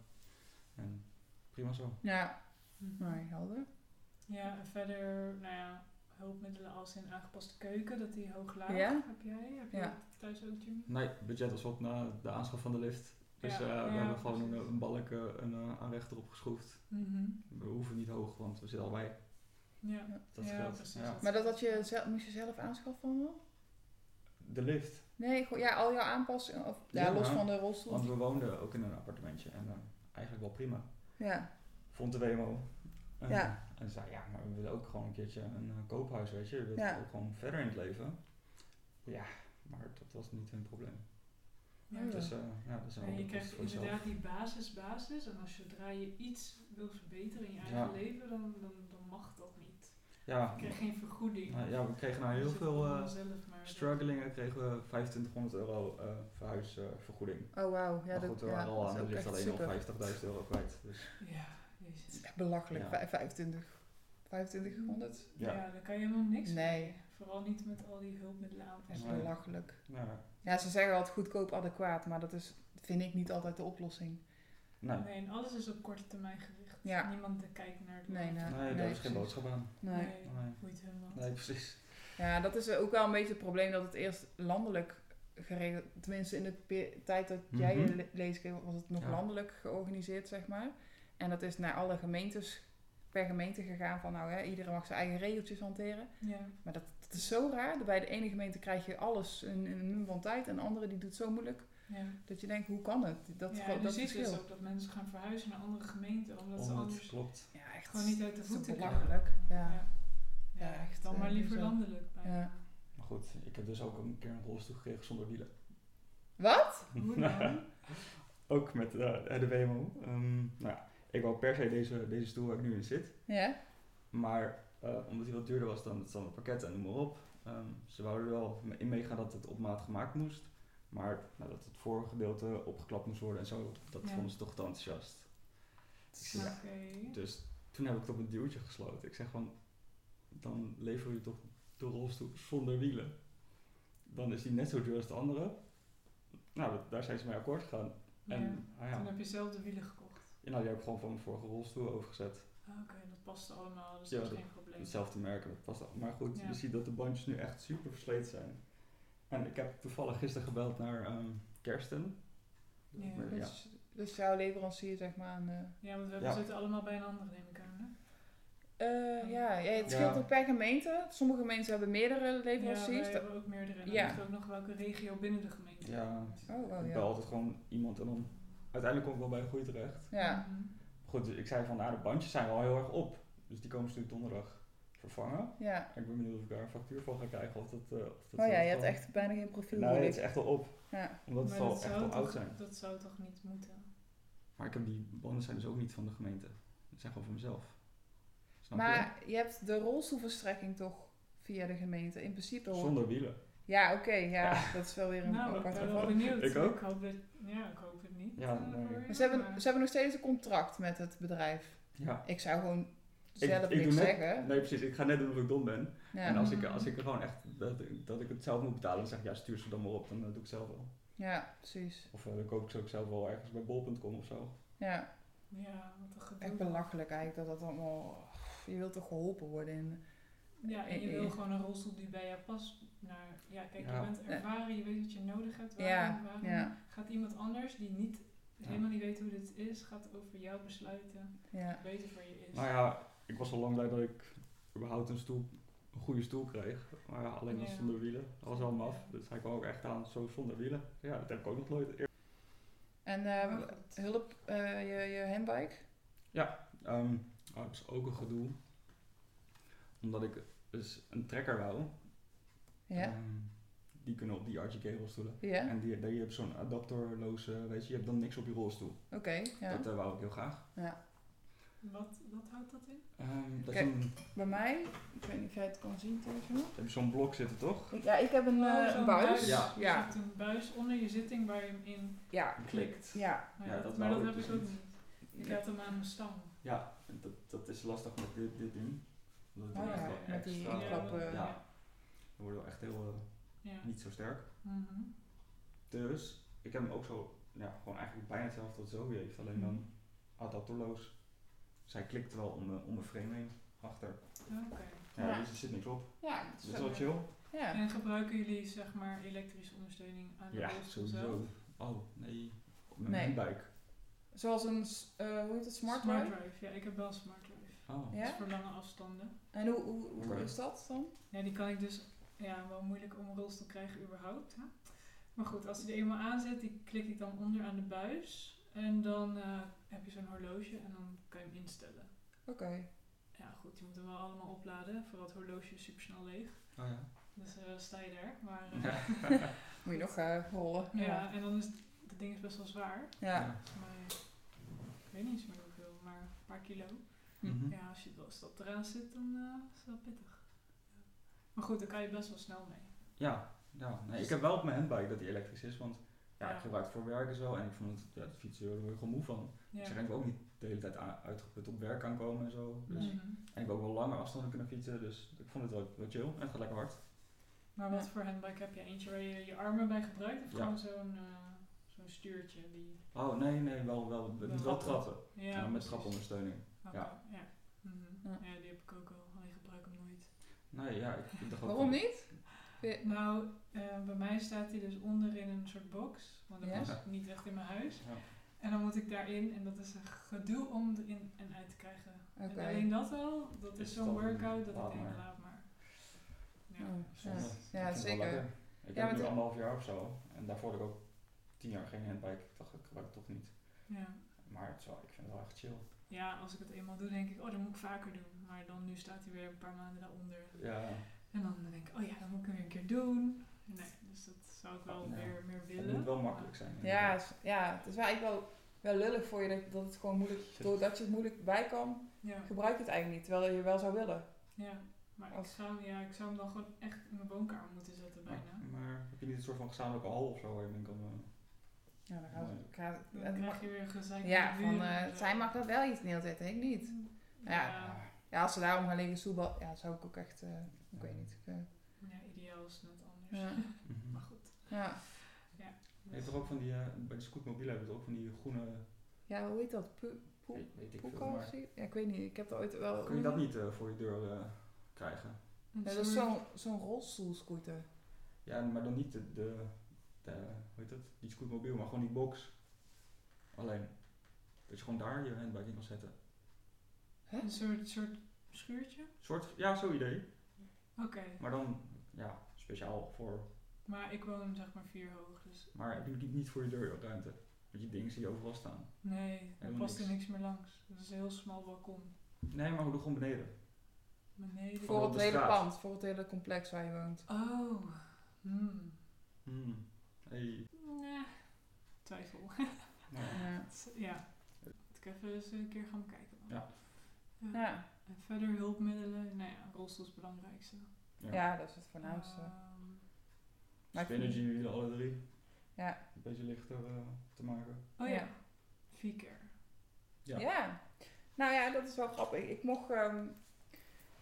Speaker 2: En prima zo.
Speaker 3: Ja,
Speaker 4: Mhm.
Speaker 3: maar helder.
Speaker 4: Ja, en verder, nou ja, hulpmiddelen als in aangepaste keuken, dat die hooglaag
Speaker 3: Ja.
Speaker 4: heb jij. Heb je
Speaker 3: Ja.
Speaker 4: dat thuis ook, Jimmy?
Speaker 2: Nee, het budget was op na de aanschaf van de lift. Dus
Speaker 4: Ja,
Speaker 2: eh, we
Speaker 4: ja,
Speaker 2: hebben gewoon een,
Speaker 4: precies.
Speaker 2: een balk, eh, een eh, aanrechter opgeschroefd.
Speaker 4: Mhm.
Speaker 2: We hoeven niet hoog, want we zitten al bij.
Speaker 4: Ja,
Speaker 2: Dat
Speaker 4: Ja,
Speaker 2: scheelt.
Speaker 4: precies.
Speaker 2: Ja.
Speaker 3: Maar dat had je zelf, moest je zelf aanschaffen dan?
Speaker 2: De lift.
Speaker 3: Nee, gewoon- ja, al jouw aanpassingen. Of, ja,
Speaker 2: Ja,
Speaker 3: los
Speaker 2: ja.
Speaker 3: van de rolstoel.
Speaker 2: Want we woonden ook in een appartementje. En eh, eigenlijk wel prima.
Speaker 3: Ja,
Speaker 2: Vond de WMO. En,
Speaker 3: Ja.
Speaker 2: En zei, ja, maar we willen ook gewoon een keertje een eh, koophuis, weet je. We willen
Speaker 3: Ja.
Speaker 2: ook gewoon verder in het leven. Ja, maar dat was niet hun probleem.
Speaker 4: ja.
Speaker 3: Oh, ja.
Speaker 2: Dus eh, ja, dat zijn
Speaker 4: En
Speaker 2: allemaal
Speaker 4: je
Speaker 2: kosten
Speaker 4: krijgt
Speaker 2: voor jezelf.
Speaker 4: inderdaad die basis, basis. En als zodra je iets wil verbeteren in je eigen
Speaker 2: Ja.
Speaker 4: leven, dan, dan, dan mag dat niet.
Speaker 2: Ja,
Speaker 4: Je krijgt geen vergoeding.
Speaker 2: nou ja, we kregen nou heel
Speaker 4: Dus het
Speaker 2: veel
Speaker 4: komt
Speaker 2: eh,
Speaker 4: wel zelf, maar dat-
Speaker 2: strugglingen, kregen we 2500 euro eh verhuisvergoeding.
Speaker 3: oh wauw. Ja,
Speaker 2: maar
Speaker 3: dat,
Speaker 2: goed, we
Speaker 3: ja,
Speaker 2: waren al aan
Speaker 3: dat is
Speaker 2: de
Speaker 3: ook
Speaker 2: lift
Speaker 3: echt
Speaker 2: alleen al
Speaker 3: super.
Speaker 2: 50.000 euro kwijt. Dus
Speaker 4: Ja,
Speaker 3: Het
Speaker 4: jezus.
Speaker 3: is echt belachelijk.
Speaker 2: Ja.
Speaker 3: Vij- 25. 2500?
Speaker 2: Ja.
Speaker 4: Ja. daar kan je helemaal niks
Speaker 3: Nee.
Speaker 4: mee. Vooral niet met al die hulpmiddelen
Speaker 3: Dat is
Speaker 2: Nee.
Speaker 4: aanpassen.
Speaker 3: belachelijk.
Speaker 2: nou, ja.
Speaker 3: Ja, ze zeggen altijd goedkoop adequaat, maar dat is, vind ik niet altijd de oplossing.
Speaker 2: nee,
Speaker 4: Nee, en alles is op korte termijn gericht.
Speaker 3: Ja.
Speaker 4: Niemand kijkt naar de
Speaker 3: Nee,
Speaker 4: lange
Speaker 3: nee.
Speaker 2: nee,
Speaker 4: termijn.
Speaker 2: daar
Speaker 3: nee,
Speaker 2: is geen
Speaker 3: precies.
Speaker 2: boodschap aan.
Speaker 3: Nee.
Speaker 4: Nee,
Speaker 2: Nee.
Speaker 4: boeit hun wat.
Speaker 2: Nee, precies.
Speaker 3: Ja, dat is ook wel een beetje het probleem dat het eerst landelijk geregeld. Tenminste, in de pe- tijd dat jij je
Speaker 2: Mhm.
Speaker 3: le- leeskring was het nog
Speaker 2: Ja.
Speaker 3: landelijk georganiseerd, zeg maar. En dat is naar alle gemeentes per gemeente gegaan van nou, hè, iedereen mag zijn eigen regeltjes hanteren.
Speaker 4: Ja.
Speaker 3: Maar dat, dat is zo raar. Bij de ene gemeente krijg je alles in, in een mum van tijd en de andere die doet zo moeilijk
Speaker 4: ja.
Speaker 3: dat je denkt, hoe kan het? Dat,
Speaker 4: ja,
Speaker 3: dat,
Speaker 4: en je ziet
Speaker 3: verschil.
Speaker 4: dus ook dat mensen gaan verhuizen naar andere gemeenten, omdat ze
Speaker 2: Omdat het
Speaker 4: anders
Speaker 2: klopt.
Speaker 3: Ja, echt.
Speaker 4: gewoon niet uit de
Speaker 3: het is toch
Speaker 4: voeten
Speaker 3: belachelijk. Ja.
Speaker 4: Ja.
Speaker 3: Ja,
Speaker 4: Ja,
Speaker 3: echt,
Speaker 4: dan
Speaker 3: eh,
Speaker 4: maar liever
Speaker 3: bizar.
Speaker 4: landelijk bijna.
Speaker 3: Ja.
Speaker 2: Maar goed, ik heb dus ook een keer een rolstoel gekregen zonder wielen. <laughs>
Speaker 4: Hoe dan?
Speaker 2: Ook met eh, de WMO. Ehm, nou ja, ik wou per se deze, deze stoel waar ik nu in zit.
Speaker 3: Ja.
Speaker 2: Maar eh, omdat hij wat duurder was dan het standaard pakket en noem maar op. ehm, ze wouden er wel in meegaan dat het op maat gemaakt moest. Maar nou, dat het voorgedeelte opgeklapt moest worden en zo, dat
Speaker 4: Ja.
Speaker 2: vonden ze toch te enthousiast.
Speaker 4: Oké.
Speaker 2: Ja. Dus toen heb ik het op een duwtje gesloten. Ik zeg van, dan leveren jullie toch de rolstoel zonder wielen. Dan is die net zo duur als de andere. Nou, dat- daar zijn ze mee akkoord gegaan.
Speaker 4: Ja.
Speaker 2: En ah ja,
Speaker 4: Toen heb je zelf de wielen gekocht.
Speaker 2: ja, nou, die heb ik gewoon van mijn vorige rolstoel overgezet.
Speaker 4: Oké, dat paste allemaal, dus
Speaker 2: Ja,
Speaker 4: dat is geen probleem.
Speaker 2: hetzelfde merken. Dat past al. Maar goed,
Speaker 4: Ja.
Speaker 2: je ziet dat de bandjes nu echt super versleten zijn. En ik heb toevallig gisteren gebeld naar ehm, Kersten.
Speaker 4: Ja.
Speaker 2: Maar ja.
Speaker 3: Dus, dus jouw leverancier, zeg maar, aan... eh,
Speaker 4: Ja, want we
Speaker 2: Ja.
Speaker 4: zitten allemaal bij een ander, neem ik aan. Hè? Oh.
Speaker 3: Eh, ja, ja, het
Speaker 2: Ja.
Speaker 3: scheelt ook per gemeente. Sommige gemeenten hebben meerdere
Speaker 4: Ja, wij
Speaker 3: leveranciers.
Speaker 4: hebben ook meerdere. En dan
Speaker 3: Ja.
Speaker 4: ligt ook nog welke regio binnen de gemeente.
Speaker 2: Ja.
Speaker 3: Oh, oh
Speaker 2: ik
Speaker 3: ja.
Speaker 2: bel altijd gewoon iemand en dan uiteindelijk kom ik wel bij een goede terecht.
Speaker 3: Ja,
Speaker 4: Mhm.
Speaker 2: Goed, dus ik zei van nou, de bandjes zijn wel heel erg op. Dus die komen ze nu donderdag vervangen.
Speaker 3: ja.
Speaker 2: Ik ben benieuwd of ik daar een factuur van ga krijgen. Of dat, eh, of dat
Speaker 3: Oh
Speaker 2: zo
Speaker 3: ja, je hebt
Speaker 2: gewoon-
Speaker 3: echt bijna geen profiel
Speaker 2: Nee,
Speaker 3: nodig.
Speaker 2: Nou, het is echt al op.
Speaker 3: Ja.
Speaker 2: Omdat
Speaker 4: Maar
Speaker 2: het al
Speaker 4: dat
Speaker 2: echt
Speaker 4: zou
Speaker 2: al oud
Speaker 4: toch-
Speaker 2: zijn.
Speaker 4: Dat zou toch niet moeten?
Speaker 2: Maar ik heb die banden zijn dus ook niet van de gemeente. Die zijn gewoon van mezelf. Snap je?
Speaker 3: Maar je hebt de rolstoelverstrekking toch via de gemeente? In principe hoor.
Speaker 2: Zonder wielen.
Speaker 3: Ja, oké, ja, dat is wel weer een
Speaker 4: nou, ik
Speaker 3: apart
Speaker 4: ben
Speaker 3: geval.
Speaker 4: wel benieuwd.
Speaker 2: Ik ook.
Speaker 4: hoop het, ja, ik hoop het niet.
Speaker 2: Ja,
Speaker 4: eh,
Speaker 2: nee.
Speaker 4: voor
Speaker 2: Maar
Speaker 4: je,
Speaker 3: Maar ze, hebben,
Speaker 4: maar-
Speaker 3: ze hebben nog steeds een contract met het bedrijf.
Speaker 2: Ja.
Speaker 3: Ik zou gewoon
Speaker 2: Ik-
Speaker 3: zelf
Speaker 2: ik doe
Speaker 3: niks
Speaker 2: net-
Speaker 3: zeggen.
Speaker 2: Nee, precies. Ik ga net doen of ik dom ben.
Speaker 3: Ja. Mm-hmm.
Speaker 2: En als ik, als ik er gewoon echt, dat, dat ik het zelf moet betalen, dan zeg ik, ja, stuur ze dan maar op, dan eh, doe ik het zelf wel.
Speaker 3: ja, precies.
Speaker 2: Of eh, dan koop ik ze ook zelf wel ergens bij bol.com of zo.
Speaker 3: Ja,
Speaker 4: Ja, wat een gedoe.
Speaker 3: echt belachelijk eigenlijk dat dat allemaal... Je wilt toch geholpen worden in...
Speaker 4: Ja, en je
Speaker 3: Eh,
Speaker 4: wil
Speaker 3: eh.
Speaker 4: gewoon een rolstoel die bij jou past. Naar, ja, kijk,
Speaker 2: Ja.
Speaker 4: je bent ervaren, je weet wat je nodig hebt. Waarom,
Speaker 3: Ja,
Speaker 4: waarom
Speaker 3: ja,
Speaker 4: gaat iemand anders die niet,
Speaker 2: Ja.
Speaker 4: helemaal niet weet hoe dit is, gaat over jou besluiten
Speaker 3: ja.
Speaker 4: wat beter voor je is.
Speaker 2: Nou ja, ik was al lang blij dat ik überhaupt een stoel, een goede stoel kreeg. Maar ja, alleen dan
Speaker 4: Ja.
Speaker 2: zonder wielen. Dat was allemaal af. Dus hij kwam ook echt aan, zo zonder wielen. Ja, dat heb ik ook nog nooit eerder.
Speaker 3: En eh,
Speaker 4: Maar goed.
Speaker 3: hulp, eh, je, je handbike?
Speaker 2: Ehm, oh, dat is ook een gedoe. Omdat ik dus een trekker wou.
Speaker 3: Ja.
Speaker 2: Ehm, die kunnen op die RGK-rolstoelen.
Speaker 3: Ja,
Speaker 2: En die, die heb zo'n adapterloze, weet je, je hebt dan niks op je rolstoel.
Speaker 3: oké. ja.
Speaker 2: Dat eh, wou ik heel graag.
Speaker 4: Wat, wat houdt dat in?
Speaker 2: Ehm dat is
Speaker 3: Kijk.
Speaker 2: een-
Speaker 3: Bij mij, ik weet niet of jij het kan zien thuis. hoor.
Speaker 2: heb je zo'n blok zitten, toch?
Speaker 3: Ik- Ja, ik heb een, eh,
Speaker 4: Oh, zo'n
Speaker 3: een buis.
Speaker 4: buis.
Speaker 2: Ja.
Speaker 4: Je
Speaker 3: Ja.
Speaker 4: hebt een buis onder je zitting waar je hem in
Speaker 3: Ja.
Speaker 2: Klikt.
Speaker 3: Ja.
Speaker 4: Maar,
Speaker 2: Ja,
Speaker 4: dat,
Speaker 2: dat
Speaker 4: maar dat
Speaker 2: wou ik
Speaker 4: heb
Speaker 2: dus
Speaker 4: ik ook
Speaker 2: niet.
Speaker 4: niet. Ik had hem aan mijn stang.
Speaker 2: Ja, dat, dat is lastig met dit, dit ding. Omdat het
Speaker 3: Oh
Speaker 2: echt
Speaker 3: ja, eh.
Speaker 2: wel
Speaker 3: met die
Speaker 2: extra-
Speaker 3: inklappen.
Speaker 2: Ja,
Speaker 4: Ja.
Speaker 2: dan worden we echt heel eh,
Speaker 4: ja.
Speaker 2: niet zo sterk.
Speaker 4: Mhm.
Speaker 2: Dus ik heb hem ook zo, ja, gewoon eigenlijk bijna hetzelfde wat Zoe heeft, alleen
Speaker 3: Mhm.
Speaker 2: dan adapterloos. Zij klikt wel om, de- om mijn frame heen achter.
Speaker 4: Oké.
Speaker 2: Ja,
Speaker 3: Ja.
Speaker 2: Dus er zit niks op.
Speaker 3: Ja, dat
Speaker 2: Dus dat is wel chill.
Speaker 3: Ja.
Speaker 4: En gebruiken jullie zeg maar elektrische ondersteuning aan de
Speaker 2: Ja,
Speaker 4: rolstoel zelf?
Speaker 2: sowieso. Oh, nee. Op mijn
Speaker 3: Nee.
Speaker 2: handbike.
Speaker 3: Zoals een, s- eh, hoe heet het, smart
Speaker 4: Smart
Speaker 3: ride?
Speaker 4: drive. Ja, ik heb wel smart drive.
Speaker 2: Oh.
Speaker 4: Dat is
Speaker 3: Ja?
Speaker 4: voor lange afstanden.
Speaker 3: En hoe, hoe, hoe
Speaker 2: Oké.
Speaker 3: is dat dan?
Speaker 4: Ja, die kan ik dus ja, wel moeilijk om een rolstoel krijgen überhaupt. Hè? Maar goed, als hij er eenmaal aan zit, die klik ik dan onder aan de buis. En dan eh, heb je zo'n horloge en dan kan je hem instellen.
Speaker 3: Oké.
Speaker 4: Ja, goed, je moet hem wel allemaal opladen. Vooral het horloge is super snel leeg.
Speaker 2: Oh ja.
Speaker 4: Dus eh, sta je daar. Maar, eh,
Speaker 3: Moet je nog eh, rollen.
Speaker 4: ja. en dan is het dat ding is best wel zwaar.
Speaker 3: Ja.
Speaker 4: Volgens mij, ik weet niet eens meer hoeveel, maar een paar kilo.
Speaker 2: Mhm.
Speaker 4: Ja, als, je, als dat eraan zit, dan eh, is dat pittig. Ja. Maar goed, dan kan je best wel snel mee.
Speaker 2: Ja, ja. Nee, ik heb wel op mijn handbike dat die elektrisch is, want ja,
Speaker 4: Ja.
Speaker 2: ik gebruik het voor werk en zo. En ik vond het, ja, het fietsen, daar word je gewoon moe van.
Speaker 4: Ja.
Speaker 2: Dus dan kan ik ook niet de hele tijd a- uitgeput op werk kan komen en zo. Dus,
Speaker 3: Nee.
Speaker 4: Mhm.
Speaker 2: En ik heb ook wel lange afstanden kunnen fietsen, dus ik vond het wel, wel chill. En het gaat lekker hard.
Speaker 4: Maar wat voor handbike heb je? Eentje waar je je armen bij gebruikt? Of
Speaker 2: Ja.
Speaker 4: gewoon zo'n eh, zo'n stuurtje? Die...
Speaker 2: Oh nee, nee, wel, wel, wel,
Speaker 4: Wel
Speaker 2: trappen.
Speaker 4: Ja,
Speaker 2: Ja, met
Speaker 4: precies.
Speaker 2: trapondersteuning.
Speaker 4: Oké,
Speaker 2: ja.
Speaker 4: Ja. Mhm.
Speaker 3: Ja.
Speaker 4: ja, die heb ik ook al. Alleen gebruik ik hem nooit.
Speaker 2: Nee, ja, ik, ik dacht ook
Speaker 3: Waarom
Speaker 2: wel-
Speaker 3: niet? Vind Ja.
Speaker 4: Nou, eh, bij mij staat die dus onder in een soort box. Want dat
Speaker 3: Ja.
Speaker 4: was niet echt in mijn huis.
Speaker 2: Ja.
Speaker 4: En dan moet ik daarin. En dat is een gedoe om erin en uit te krijgen.
Speaker 3: Oké.
Speaker 4: En alleen dat al, dat is
Speaker 2: Is
Speaker 4: zo'n
Speaker 2: dan-
Speaker 4: workout dat
Speaker 2: laat
Speaker 4: ik denk,
Speaker 2: maar.
Speaker 4: laat maar. Ja,
Speaker 3: Oh,
Speaker 4: soms.
Speaker 3: ja.
Speaker 2: Ik vind het wel
Speaker 3: zeker.
Speaker 2: lekker. Ik heb
Speaker 3: Ja, maar
Speaker 2: het nu
Speaker 3: het-
Speaker 2: anderhalf jaar of zo. En daarvoor had ik ook tien jaar geen handbike. Ik dacht, ik gebruik het toch niet.
Speaker 4: Ja.
Speaker 2: Maar het is wel, ik vind het wel echt chill.
Speaker 4: ja, als ik het eenmaal doe, denk ik, oh, dat moet ik vaker doen. Maar dan nu staat hij weer een paar maanden daaronder.
Speaker 2: Ja,
Speaker 4: En dan denk ik, oh ja, dat moet ik weer een keer doen. Nee, dus dat zou ik wel
Speaker 2: Ja.
Speaker 4: meer, meer
Speaker 2: het
Speaker 4: willen.
Speaker 2: moet wel makkelijk zijn.
Speaker 3: Ja, is- ja, het is wel eigenlijk wel, wel lullig voor je dat, dat het gewoon moeilijk, doordat je het moeilijk bij kan,
Speaker 4: Ja,
Speaker 3: gebruik je het eigenlijk niet, terwijl je wel zou willen.
Speaker 4: ja. Maar ik
Speaker 3: Als-
Speaker 4: zou, ja, ik zou hem dan gewoon echt in mijn woonkamer moeten zetten
Speaker 2: Maar,
Speaker 4: bijna.
Speaker 2: maar heb je niet een soort van gezamenlijke hal of zo waar je in kan... eh,
Speaker 3: Ja, dan
Speaker 2: gaat-
Speaker 3: gaat
Speaker 4: Dan krijg je weer eh, gezeik
Speaker 3: Ja,
Speaker 4: met
Speaker 3: van
Speaker 4: buren en
Speaker 3: eh,
Speaker 4: zo.
Speaker 3: zij mag dat wel iets de hele tijd, ik niet. Ja. Ja, als ze daarom gaan liggen stoelbal, ja, zou ik ook echt, eh, ik weet niet. ik, eh,
Speaker 4: ja, ideaal is net anders.
Speaker 3: ja.
Speaker 4: <laughs> Maar goed.
Speaker 3: ja.
Speaker 2: Mhm. Je hebt toch ook van die, eh, bij de scootmobiel hebben we toch ook van die groene...
Speaker 3: ja, hoe heet dat? Pu- poe-
Speaker 2: Weet, weet ik veel,
Speaker 3: Poeka of
Speaker 2: maar...
Speaker 3: zo? Ja, ik weet niet, ik heb er ooit wel...
Speaker 2: Kun je dat niet eh, voor je deur eh, krijgen?
Speaker 4: Een
Speaker 3: Ja, dat is
Speaker 4: soort-
Speaker 3: zo'n zo'n rolstoelscooter.
Speaker 2: Ja, maar dan niet de, de, de hoe heet dat, die scootmobiel, maar gewoon die box. Alleen, dat je gewoon daar je handbike in kan zetten.
Speaker 4: Een soort, soort schuurtje.
Speaker 2: Soort, ja, zo'n idee.
Speaker 4: Oké,
Speaker 2: Maar dan, ja, speciaal voor,
Speaker 4: maar ik woon zeg maar vier hoog, dus
Speaker 2: maar heb je natuurlijk niet voor je deur ruimte. Want die dingen zie je overal staan.
Speaker 4: nee, er
Speaker 2: Helemaal
Speaker 4: past er
Speaker 2: niks.
Speaker 4: niks meer langs. Dat is een heel smal balkon.
Speaker 2: Nee, maar we doen gewoon beneden.
Speaker 4: Beneden.
Speaker 3: Voor
Speaker 2: Voor op de
Speaker 3: het hele
Speaker 2: straat.
Speaker 3: pand, voor het hele complex waar je woont.
Speaker 4: Oh, hmm.
Speaker 2: Hmm. Hey.
Speaker 4: Nee, twijfel. <laughs>
Speaker 2: Nou,
Speaker 3: Ja.
Speaker 4: ja, moet ik even eens een keer gaan bekijken. dan.
Speaker 2: Ja.
Speaker 3: Ja.
Speaker 4: En verder hulpmiddelen, nou ja, een rolstoel is het belangrijkste.
Speaker 2: ja.
Speaker 3: ja, dat is het voornaamste.
Speaker 4: Ehm,
Speaker 3: Maar ik vind-
Speaker 2: Spinergy wielen, alle drie.
Speaker 3: Ja.
Speaker 2: Een beetje lichter eh, te maken.
Speaker 4: oh ja,
Speaker 3: Ja.
Speaker 4: vier keer.
Speaker 2: Ja.
Speaker 3: Ja. Nou ja, dat is wel grappig. Ik mocht. ehm,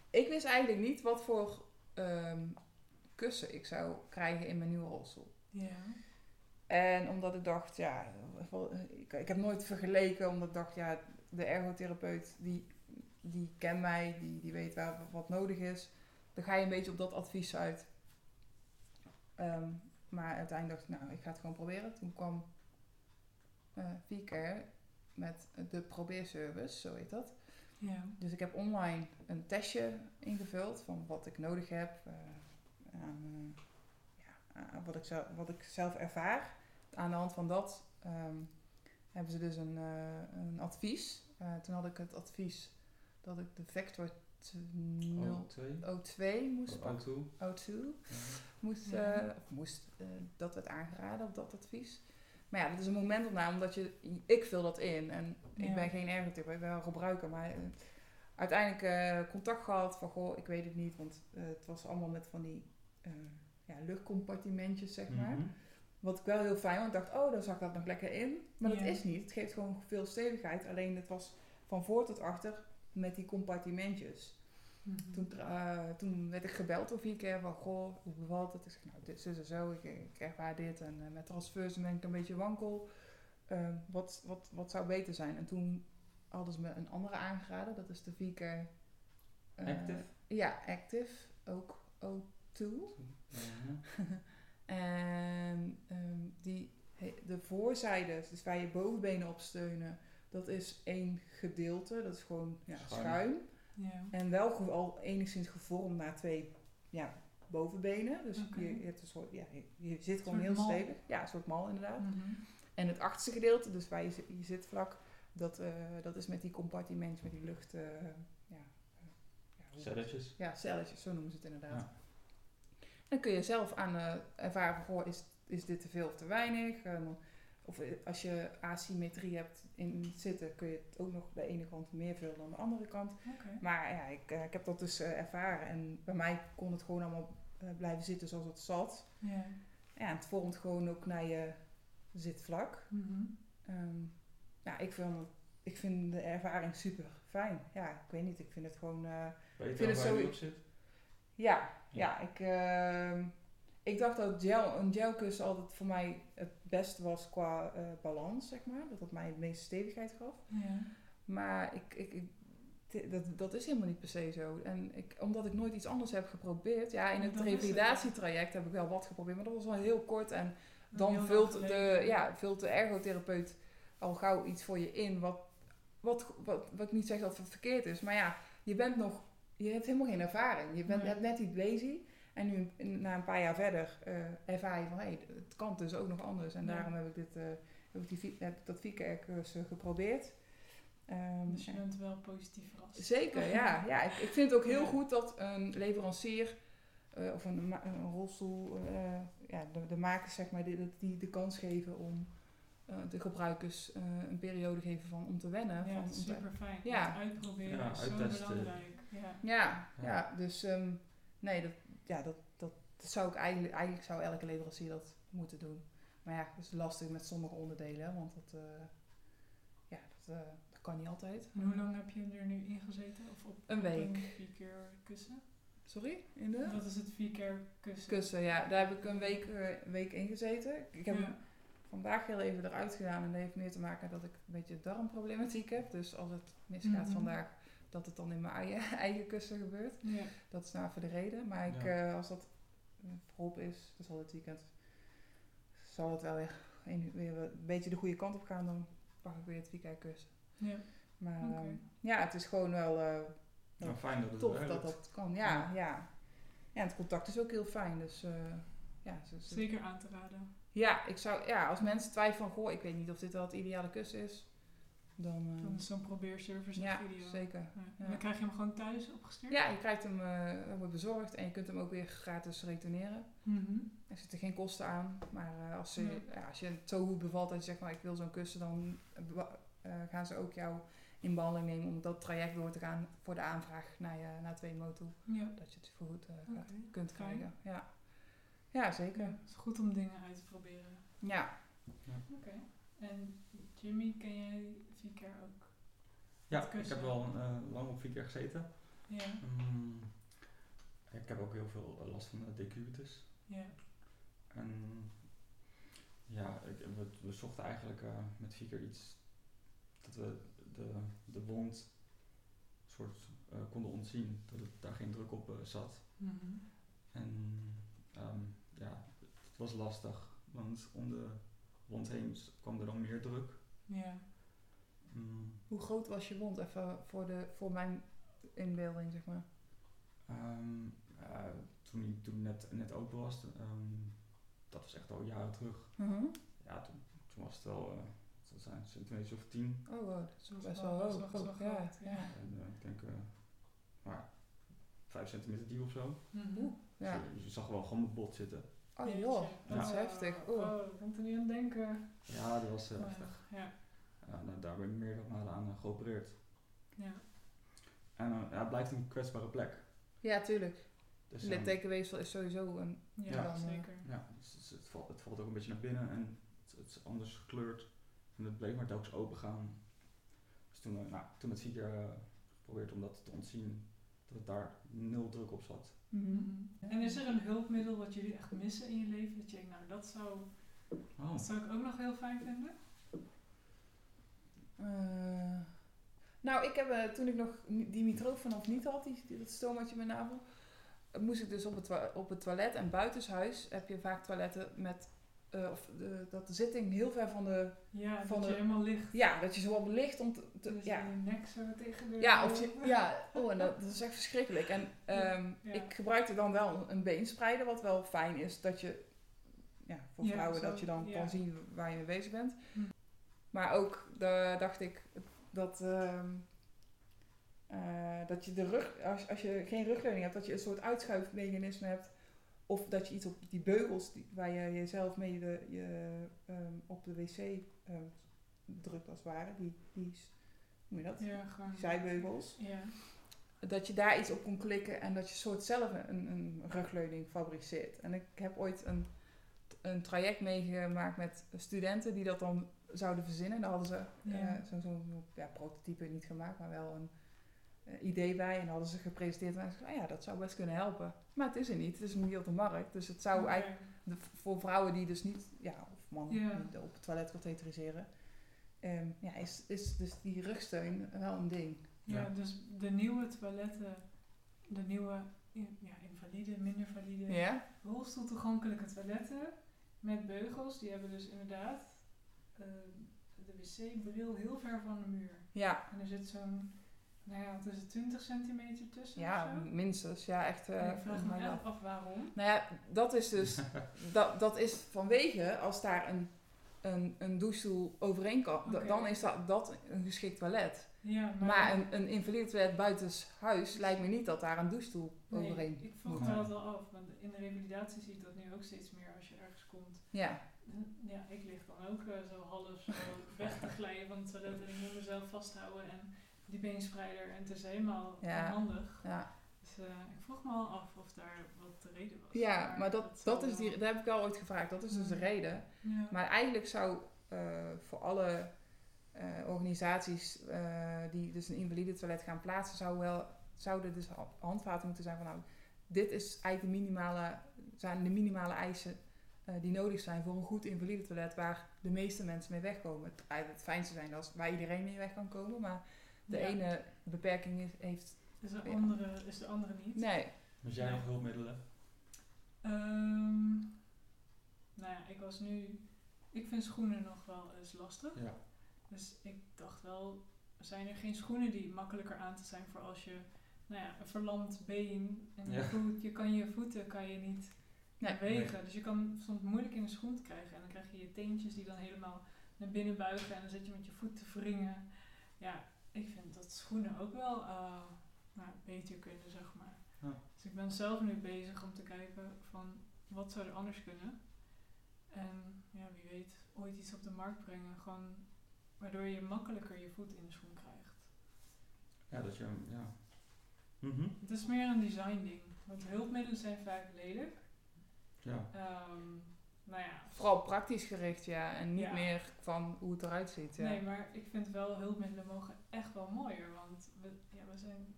Speaker 3: ik wist eigenlijk niet wat voor ehm, kussen ik zou krijgen in mijn nieuwe rolstoel.
Speaker 4: Ja.
Speaker 3: En omdat ik dacht, ja, wel- ik, ik heb nooit vergeleken, omdat ik dacht, ja, de ergotherapeut die, die kent mij, die, die weet waar wat nodig is. Dan ga je een beetje op dat advies uit. Ehm, maar uiteindelijk dacht ik, nou, ik ga het gewoon proberen. Toen kwam eh Vcare met de probeerservice, zo heet dat.
Speaker 4: Ja.
Speaker 3: Dus ik heb online een testje ingevuld van wat ik nodig heb, eh, aan, eh, ja, aan wat, ik zelf, wat ik zelf ervaar. Aan de hand van dat ehm, hebben ze dus een, eh, een advies. Eh, toen had ik het advies dat ik de Vector 002
Speaker 2: O2.
Speaker 3: moest
Speaker 2: Of
Speaker 3: pakken.
Speaker 2: O2.
Speaker 3: O2
Speaker 2: Ja.
Speaker 3: moest,
Speaker 4: Ja.
Speaker 3: eh, of moest eh, dat werd aangeraden op dat advies. Maar ja, dat is een momentopname, omdat je, ik vul dat in. En
Speaker 4: Ja.
Speaker 3: ik ben geen ergotherapeut, ik ben wel gebruiker. Maar eh, uiteindelijk eh, contact gehad van, goh, ik weet het niet. Want eh, het was allemaal met van die eh, ja, luchtcompartimentjes, zeg maar.
Speaker 2: Mhm.
Speaker 3: Wat ik wel heel fijn, want ik dacht, oh, dan zag dat nog lekker in. Maar
Speaker 4: Ja.
Speaker 3: dat is niet. Het geeft gewoon veel stevigheid. Alleen het was van voor tot achter met die compartimentjes.
Speaker 4: Mhm.
Speaker 3: Toen, eh, toen werd ik gebeld door vier keer van, goh, hoe bevalt het? Ik zeg, nou, dit is en zo, ik, ik ervaar dit. En eh, met transfers ben ik een beetje wankel. Eh, wat, wat, wat zou beter zijn? En toen hadden ze me een andere aangeraden, dat is de vier keer... eh,
Speaker 2: Active.
Speaker 3: Ja, Active, ook O2.
Speaker 2: Mhm.
Speaker 3: En ehm, die, he- de voorzijde, dus waar je bovenbenen op steunen, dat is één gedeelte, dat is gewoon ja,
Speaker 2: Schuin.
Speaker 3: schuin.
Speaker 4: Ja.
Speaker 3: En wel ge- al enigszins gevormd naar twee ja, bovenbenen. Dus
Speaker 4: Oké.
Speaker 3: je, je, hebt een soort, ja, je, je zit gewoon
Speaker 4: soort
Speaker 3: heel
Speaker 4: mal.
Speaker 3: stevig. Ja, een soort mal inderdaad.
Speaker 4: Mhm.
Speaker 3: En het achterste gedeelte, dus waar je, zi- je zit vlak, dat, eh, dat is met die compartimentjes, met die lucht... eh, ja, eh, ja, hoe-
Speaker 2: Celletjes.
Speaker 3: Ja, celletjes, zo noemen ze het inderdaad.
Speaker 2: Ja.
Speaker 3: Dan kun je zelf aan eh, ervaren, van, goh, is, is dit te veel of te weinig? En of eh, als je asymmetrie hebt in het zitten, kun je het ook nog de ene kant meer vullen dan de andere kant.
Speaker 4: Oké.
Speaker 3: Maar ja, ik, eh, ik heb dat dus eh, ervaren. En bij mij kon het gewoon allemaal eh, blijven zitten zoals het zat.
Speaker 4: Ja.
Speaker 3: Ja, en het vormt gewoon ook naar je zitvlak.
Speaker 4: Mhm.
Speaker 3: Ehm ja, ik vind, het- ik vind de ervaring super fijn. Ja, ik weet niet. Ik vind het gewoon... eh,
Speaker 2: Weet je
Speaker 3: vind
Speaker 2: wel
Speaker 3: het
Speaker 2: waar je
Speaker 3: zo-
Speaker 2: nu op zit?
Speaker 3: ja, ja. ik, ehm, ik dacht dat gel, een gelkussen altijd voor mij het beste was qua eh, balans, zeg maar. Dat het mij de meeste stevigheid gaf.
Speaker 4: Ja.
Speaker 3: Maar ik, ik, ik- het d- dat, dat is helemaal niet per se zo. En ik, omdat ik nooit iets anders heb geprobeerd. Ja, in
Speaker 4: Ja,
Speaker 3: het
Speaker 4: dat is het.
Speaker 3: revalidatietraject heb ik wel wat geprobeerd, maar dat was wel heel kort. En
Speaker 4: Heel
Speaker 3: dan
Speaker 4: lang
Speaker 3: vult de,
Speaker 4: geleden.
Speaker 3: ja, vult de ergotherapeut al gauw iets voor je in. Wat, wat, wat, wat ik niet zeg dat het verkeerd is. Maar ja, je bent nog, je hebt helemaal geen ervaring. Je bent,
Speaker 4: Nee.
Speaker 3: hebt net iets lazy. En nu, na een paar jaar verder, eh, ervaar je van hé, het kan dus ook nog anders. En
Speaker 4: Ja.
Speaker 3: daarom heb ik, dit, eh, heb ik die, vi- heb ik dat vierkerkers geprobeerd. Ehm,
Speaker 4: Dus je bent wel positief verrast.
Speaker 3: Zeker, ja. ja ik, ik vind het ook heel
Speaker 4: Oh. Ja.
Speaker 3: goed dat een leverancier eh, of een, ma- een rolstoel, eh, ja, de, de makers zeg maar, die, dat die de kans geven om eh, de gebruikers eh, een periode geven van om te wennen.
Speaker 4: Ja,
Speaker 3: van, om te-
Speaker 4: super fijn.
Speaker 3: Ja.
Speaker 4: Uitproberen
Speaker 2: Ja,
Speaker 4: is
Speaker 2: uittesten.
Speaker 4: zo belangrijk. Ja.
Speaker 3: ja,
Speaker 2: Ja.
Speaker 3: ja. dus ehm, nee, dat, ja, dat, dat, dat zou ik eigenlijk, eigenlijk zou elke leverancier dat moeten doen. Maar ja, dat is lastig met sommige onderdelen, hè, want dat, eh, ja, dat, eh, dat kan niet altijd.
Speaker 4: En hoe lang heb je er nu in gezeten? Of op
Speaker 3: Een
Speaker 4: op
Speaker 3: week.
Speaker 4: vier keer kussen?
Speaker 3: Sorry? In de?
Speaker 4: Dat is het vier keer kussen.
Speaker 3: Kussen, ja. Daar heb ik een week, eh, week in gezeten. Ik- Ik heb hem
Speaker 4: ja.
Speaker 3: vandaag heel even eruit gedaan. En dat heeft meer te maken dat ik een beetje darmproblematiek heb. Dus als het misgaat
Speaker 4: Mhm.
Speaker 3: vandaag, dat het dan in mijn eigen, <laughs> eigen kussen gebeurt.
Speaker 4: Ja.
Speaker 3: Dat is nou voor de reden. Maar ik,
Speaker 2: Ja.
Speaker 3: eh, als dat eh, verholpen is, dus al dit weekend, zal het wel weer, een- weer een beetje de goede kant op gaan. Dan pak ik weer het weekend kussen.
Speaker 4: Ja.
Speaker 3: Maar
Speaker 4: Oké.
Speaker 3: ehm, ja, het is gewoon wel... eh,
Speaker 2: Nou, fijn dat het
Speaker 3: tof
Speaker 2: werkt.
Speaker 3: dat dat kan. Ja, ja. Ja, het contact is ook heel fijn. Dus eh, ja, ze- ze-
Speaker 4: Zeker aan te raden.
Speaker 3: ja, ik zou, ja, als mensen twijfelen van, goh, ik weet niet of dit wel het ideale kussen is, dan, eh,
Speaker 4: Dan is zo'n probeerservice
Speaker 3: ja,
Speaker 4: een video.
Speaker 3: zeker.
Speaker 4: Ja. En
Speaker 3: Ja.
Speaker 4: dan krijg je hem gewoon thuis opgestuurd?
Speaker 3: Ja, je krijgt hem, eh, hij wordt bezorgd en je kunt hem ook weer gratis retourneren.
Speaker 4: Mhm.
Speaker 3: Er zitten geen kosten aan, maar eh, als, ze,
Speaker 4: Nee.
Speaker 3: ja, als je het zo goed bevalt dat je zegt, maar ik wil zo'n kussen, dan eh, bewa- eh, gaan ze ook jou in behandeling nemen om dat traject door te gaan voor de aanvraag naar, je, naar twee toe.
Speaker 4: Ja.
Speaker 3: Dat je het vergoed eh, gaat-
Speaker 4: Oké.
Speaker 3: kunt
Speaker 4: Fijn.
Speaker 3: krijgen. Ja, ja zeker.
Speaker 4: Ja, Het is goed om dingen uit te proberen.
Speaker 3: Ja,
Speaker 4: En Jimmy ken jij vier keer ook?
Speaker 2: Ja,
Speaker 4: Het
Speaker 2: ik
Speaker 4: kussen.
Speaker 2: heb wel eh, lang op vier keer gezeten.
Speaker 4: Ja.
Speaker 2: Mm, ik heb ook heel veel eh, last van de decubitus.
Speaker 4: Ja.
Speaker 2: En ja, ik, we, we zochten eigenlijk eh, met Fieker iets dat we de, de wond soort eh, konden ontzien, dat het daar geen druk op eh, zat.
Speaker 4: Mhm.
Speaker 2: En ehm, ja, het was lastig, want om de wond heen s- kwam er dan meer druk.
Speaker 4: Ja.
Speaker 2: Mm,
Speaker 3: hoe groot was je wond? Even voor, de, voor mijn inbeelding, zeg maar.
Speaker 2: ehm, eh, toen hij toen net, net open was, ehm, dat was echt al jaren terug.
Speaker 4: Mhm.
Speaker 2: Ja, toen, toen was het wel, eh wat zijn het, centimeter of tien.
Speaker 3: Oh, wow, dat is
Speaker 4: Dat is
Speaker 3: best
Speaker 4: wel-
Speaker 3: wel
Speaker 4: dat is
Speaker 3: hoog.
Speaker 4: wel-
Speaker 3: Ook,
Speaker 4: dat is wel
Speaker 3: ja,
Speaker 4: groot,
Speaker 3: ja.
Speaker 2: En, eh, ik denk, eh, maar 5 centimeter diep of zo.
Speaker 4: Mhm.
Speaker 3: Oeh. ja.
Speaker 2: Dus je, je zag wel gewoon mijn bot zitten.
Speaker 3: Oh
Speaker 4: Jeetje.
Speaker 3: joh, dat is
Speaker 4: Oh,
Speaker 3: heftig. Oeh.
Speaker 4: Oh, ik kan er niet aan denken.
Speaker 2: Ja, dat was eh, heftig.
Speaker 4: Oh, Ja.
Speaker 2: Ja, nou, daar ben ik meerdere malen aan eh, geopereerd.
Speaker 4: Ja.
Speaker 2: En eh, ja, het blijft een kwetsbare plek.
Speaker 3: Ja, tuurlijk.
Speaker 2: Dus,
Speaker 3: Een
Speaker 2: ehm,
Speaker 3: littekenweefsel is sowieso een...
Speaker 4: Ja,
Speaker 2: Ja.
Speaker 3: Dan, eh,
Speaker 4: zeker.
Speaker 2: ja, dus het, het valt, het valt ook een beetje naar binnen en het, het is anders gekleurd. En het bleef maar telkens open gaan. Dus toen, eh, nou, toen het vier keer eh, geprobeerd om dat te ontzien, dat het daar nul druk op zat.
Speaker 4: Mhm. En is er een hulpmiddel wat jullie echt missen in je leven? Dat je denkt, nou dat zou,
Speaker 2: Oh,
Speaker 4: dat zou ik ook nog heel fijn vinden?
Speaker 3: Eh, nou, ik heb eh, toen ik nog ni- die mitrofen nog niet had, die, die- dat stoomatje in mijn navel, eh, moest ik dus op het, toa- op het toilet. En buitenshuis heb je vaak toiletten met... eh, of de, dat de zitting heel ver van de...
Speaker 4: Ja,
Speaker 3: Van
Speaker 4: dat
Speaker 3: de-
Speaker 4: je helemaal ligt.
Speaker 3: Ja, dat je zo op ligt om te... te-
Speaker 4: Dus
Speaker 3: ja.
Speaker 4: je nek zo tegen de...
Speaker 3: Ja, of je- ja, oh, en dat, dat is echt verschrikkelijk. En ehm,
Speaker 4: Ja.
Speaker 3: ik gebruikte dan wel een beenspreider, wat wel fijn is dat je, ja, voor
Speaker 4: Ja,
Speaker 3: vrouwen,
Speaker 4: zo,
Speaker 3: dat je dan
Speaker 4: ja.
Speaker 3: kan zien waar je mee bezig bent.
Speaker 4: Hm.
Speaker 3: Maar ook daar dacht ik dat, ehm, eh, dat je de rug, als, als je geen rugleuning hebt, dat je een soort uitschuifmechanisme hebt. Of dat je iets op die beugels die, waar je jezelf mee de, je, ehm, op de wc ehm, drukt, als het ware. Die, die, hoe noem je dat?
Speaker 4: Ja, gewoon...
Speaker 3: Die zijbeugels
Speaker 4: Ja.
Speaker 3: dat je daar iets op kon klikken en dat je soort zelf een, een rugleuning fabriceert. En ik heb ooit een, een traject meegemaakt met studenten die dat dan zouden verzinnen. Daar hadden ze eh,
Speaker 4: Ja.
Speaker 3: zo'n zo'n, ja, prototype niet gemaakt, maar wel een eh, idee bij. En dat hadden ze gepresenteerd en ze zeiden, "Ah ja, dat zou best kunnen helpen. Maar het is er niet, het is niet op de markt. Dus het zou
Speaker 4: Oké.
Speaker 3: eigenlijk de- voor vrouwen die dus niet, ja, of mannen
Speaker 4: Ja.
Speaker 3: die op het toilet katheteriseren, ehm, ja, is, is dus die rugsteun wel een ding.
Speaker 4: Ja,
Speaker 2: Ja.
Speaker 4: dus de nieuwe toiletten, de nieuwe in- ja, invalide, minder valide,
Speaker 3: Ja?
Speaker 4: rolstoeltoegankelijke toiletten met beugels, die hebben dus inderdaad eh, de wc-bril heel ver van de muur.
Speaker 3: Ja,
Speaker 4: En er zit zo'n, nou ja, wat is het, 20 centimeter tussen
Speaker 3: ja
Speaker 4: of zo?
Speaker 3: minstens. Ja, echt. eh,
Speaker 4: En ik vraag Oh, me
Speaker 3: maar
Speaker 4: echt
Speaker 3: dat-
Speaker 4: af waarom.
Speaker 3: Nou ja, dat is
Speaker 4: <laughs>
Speaker 3: dus. dat, dat is vanwege als daar een, een, een douchestoel overheen kan. da-
Speaker 4: Oké.
Speaker 3: Dan is dat, dat een geschikt toilet.
Speaker 4: Ja, maar,
Speaker 3: Maar eh, een, een invalide toilet buitenshuis lijkt me niet dat daar een douchestoel
Speaker 4: Nee,
Speaker 3: overheen.
Speaker 4: ik vroeg
Speaker 2: moet.
Speaker 4: me dat wel af, want in de revalidatie zie ik dat nu ook steeds meer als je ergens komt.
Speaker 3: Ja,
Speaker 4: Ja, ik lig dan ook eh, zo half zo weg te glijden van het toilet en ik moet mezelf vasthouden en die beenspraider en het is helemaal
Speaker 3: Ja.
Speaker 4: handig.
Speaker 3: ja.
Speaker 4: Dus eh, ik vroeg me al af of daar wat de reden was.
Speaker 3: ja maar dat,
Speaker 4: zal
Speaker 3: dat, is die,
Speaker 4: wel-
Speaker 3: dat heb ik al ooit gevraagd. Dat is dus de
Speaker 4: Hmm.
Speaker 3: reden.
Speaker 4: Ja.
Speaker 3: Maar eigenlijk zou eh, voor alle eh, organisaties eh, die dus een invalide toilet gaan plaatsen, zou wel, zouden dus ha- handvaten moeten zijn van nou, dit is eigenlijk de minimale, zijn de minimale eisen eh, die nodig zijn voor een goed invalide toilet waar de meeste mensen mee wegkomen. Het, eigenlijk het fijnste zijn als waar iedereen mee weg kan komen, maar de
Speaker 4: Ja.
Speaker 3: ene beperking is, heeft.
Speaker 4: Is de
Speaker 3: ja.
Speaker 4: andere, is de andere niet?
Speaker 3: Nee,
Speaker 2: Dus jij nog hulpmiddelen?
Speaker 4: Ehm, nou ja, ik was nu... Ik vind schoenen nog wel eens lastig.
Speaker 2: Ja.
Speaker 4: Dus ik dacht wel, zijn er geen schoenen die makkelijker aan te zijn voor als je nou ja, een verlamd been en je
Speaker 2: Ja.
Speaker 4: voet, je kan je voeten kan je niet
Speaker 3: Nee.
Speaker 4: bewegen. Dus je kan soms moeilijk in de schoen krijgen en dan krijg je je teentjes die dan helemaal naar binnen buigen en dan zit je met je voet te wringen. Ja, ik vind dat schoenen ook wel eh, nou, beter kunnen, zeg maar.
Speaker 2: Ja.
Speaker 4: Dus ik ben zelf nu bezig om te kijken van wat zou er anders kunnen. En ja, wie weet, ooit iets op de markt brengen. Gewoon waardoor je makkelijker je voet in de schoen krijgt.
Speaker 2: Ja, dat je hem, ja. Mhm.
Speaker 4: Het is meer een design ding. Want hulpmiddelen zijn vaak lelijk.
Speaker 2: Ja,
Speaker 4: Ehm, nou ja.
Speaker 3: vooral praktisch gericht, ja, en niet
Speaker 4: Ja.
Speaker 3: meer van hoe het eruit ziet. Ja.
Speaker 4: Nee, maar ik vind wel hulpmiddelen mogen echt wel mooier. Want we, ja, we zijn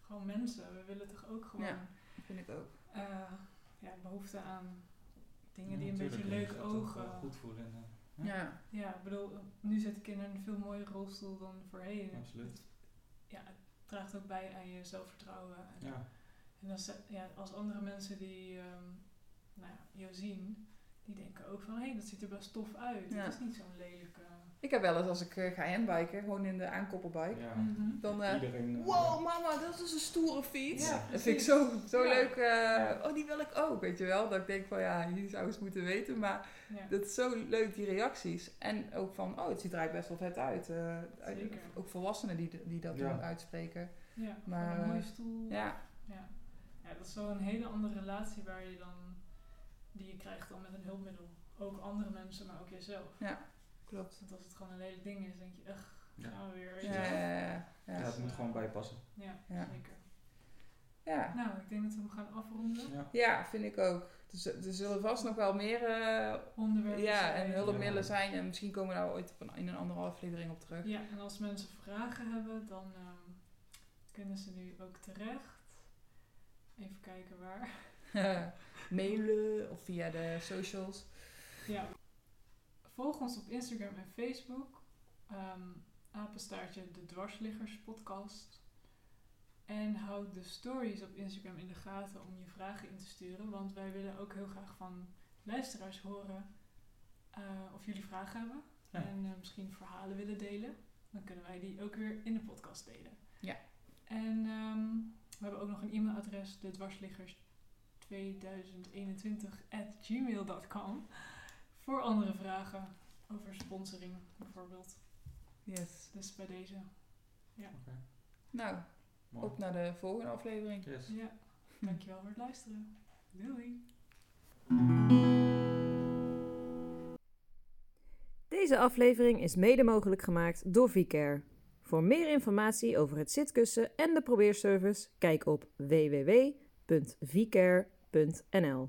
Speaker 4: gewoon mensen. We willen toch ook gewoon
Speaker 3: Ja. vind ik ook.
Speaker 4: eh, ja, behoefte aan dingen
Speaker 2: Ja,
Speaker 4: die een beetje
Speaker 2: tuurlijk.
Speaker 4: leuk
Speaker 2: Je moet er toch,
Speaker 4: ogen.
Speaker 2: eh, Goed voor in. eh, Ja.
Speaker 3: Ja.
Speaker 4: Ja, ik bedoel, nu zit ik in een veel mooiere rolstoel dan voorheen.
Speaker 2: Absoluut.
Speaker 4: Het- ja, het draagt ook bij aan je zelfvertrouwen. En,
Speaker 2: ja.
Speaker 4: en als, ja, als andere mensen die ehm, nou ja, jou zien, die denken ook van, hé, hey, dat ziet er best tof uit.
Speaker 3: Ja.
Speaker 4: Het is niet zo'n lelijke...
Speaker 3: Ik heb wel eens als ik eh, ga handbiken, gewoon in de aankoppelbike.
Speaker 2: ja.
Speaker 4: Mhm.
Speaker 3: Dan, eh,
Speaker 2: Iedereen, eh,
Speaker 3: wow mama, dat is dus een stoere fiets.
Speaker 4: Ja,
Speaker 3: dat
Speaker 4: precies.
Speaker 3: vind ik zo, zo
Speaker 4: Ja.
Speaker 3: leuk. eh,
Speaker 4: Ja.
Speaker 3: Oh, die wil ik ook, weet je wel. Dat ik denk van ja, jullie zouden eens moeten weten. Maar
Speaker 4: Ja.
Speaker 3: dat is zo leuk, die reacties. En ook van, oh, het ziet er eigenlijk best wel vet uit. eh, uit-
Speaker 4: Zeker.
Speaker 3: Ook volwassenen die, d- die dat
Speaker 2: Ja.
Speaker 3: doen uitspreken.
Speaker 4: ja,
Speaker 3: Maar,
Speaker 4: maar, een mooie
Speaker 3: eh,
Speaker 4: stoel.
Speaker 3: Ja,
Speaker 4: Ja. ja, dat is wel een hele andere relatie waar je dan, die je krijgt dan met een hulpmiddel. Ook andere mensen, maar ook jezelf.
Speaker 3: klopt.
Speaker 4: Want als het gewoon een lelijk ding is, denk je, ugh,
Speaker 2: Ja.
Speaker 4: gaan we weer. weet je
Speaker 3: Ja,
Speaker 4: wel.
Speaker 3: ja,
Speaker 2: Ja,
Speaker 3: ja.
Speaker 2: het moet gewoon bijpassen.
Speaker 4: Ja,
Speaker 3: Ja.
Speaker 4: zeker.
Speaker 3: ja.
Speaker 4: Nou, ik denk dat we hem gaan afronden.
Speaker 2: Ja.
Speaker 3: Ja, vind ik ook. Dus eh, er zullen vast nog wel meer eh,
Speaker 4: Onderwerpen
Speaker 3: ja,
Speaker 4: zijn-
Speaker 3: en hulpmiddelen
Speaker 2: Ja.
Speaker 3: zijn. En misschien komen we daar ooit op een, in een andere aflevering op terug.
Speaker 4: Ja, en als mensen vragen hebben, dan ehm, kunnen ze nu ook terecht. Even kijken waar.
Speaker 3: <laughs> mailen of via de socials.
Speaker 4: Ja. Volg ons op Instagram en Facebook. Ehm apenstaartje de Dwarsliggers podcast. En houd de stories op Instagram in de gaten om je vragen in te sturen. Want wij willen ook heel graag van luisteraars horen eh, of jullie vragen hebben.
Speaker 2: Ja.
Speaker 4: En eh, misschien verhalen willen delen. Dan kunnen wij die ook weer in de podcast delen.
Speaker 3: Ja.
Speaker 4: En ehm, we hebben ook nog een e-mailadres, de dwarsliggers 2021 gmail.com. Voor andere vragen over sponsoring bijvoorbeeld.
Speaker 3: Yes.
Speaker 4: Dus bij deze.
Speaker 3: Nou,
Speaker 2: Mooi.
Speaker 3: op naar de volgende aflevering.
Speaker 2: Yes.
Speaker 4: Ja, dankjewel voor het luisteren. Doei!
Speaker 1: Deze aflevering is mede mogelijk gemaakt door VCare. Voor meer informatie over het zitkussen en de probeerservice, kijk op www.vcare.nl.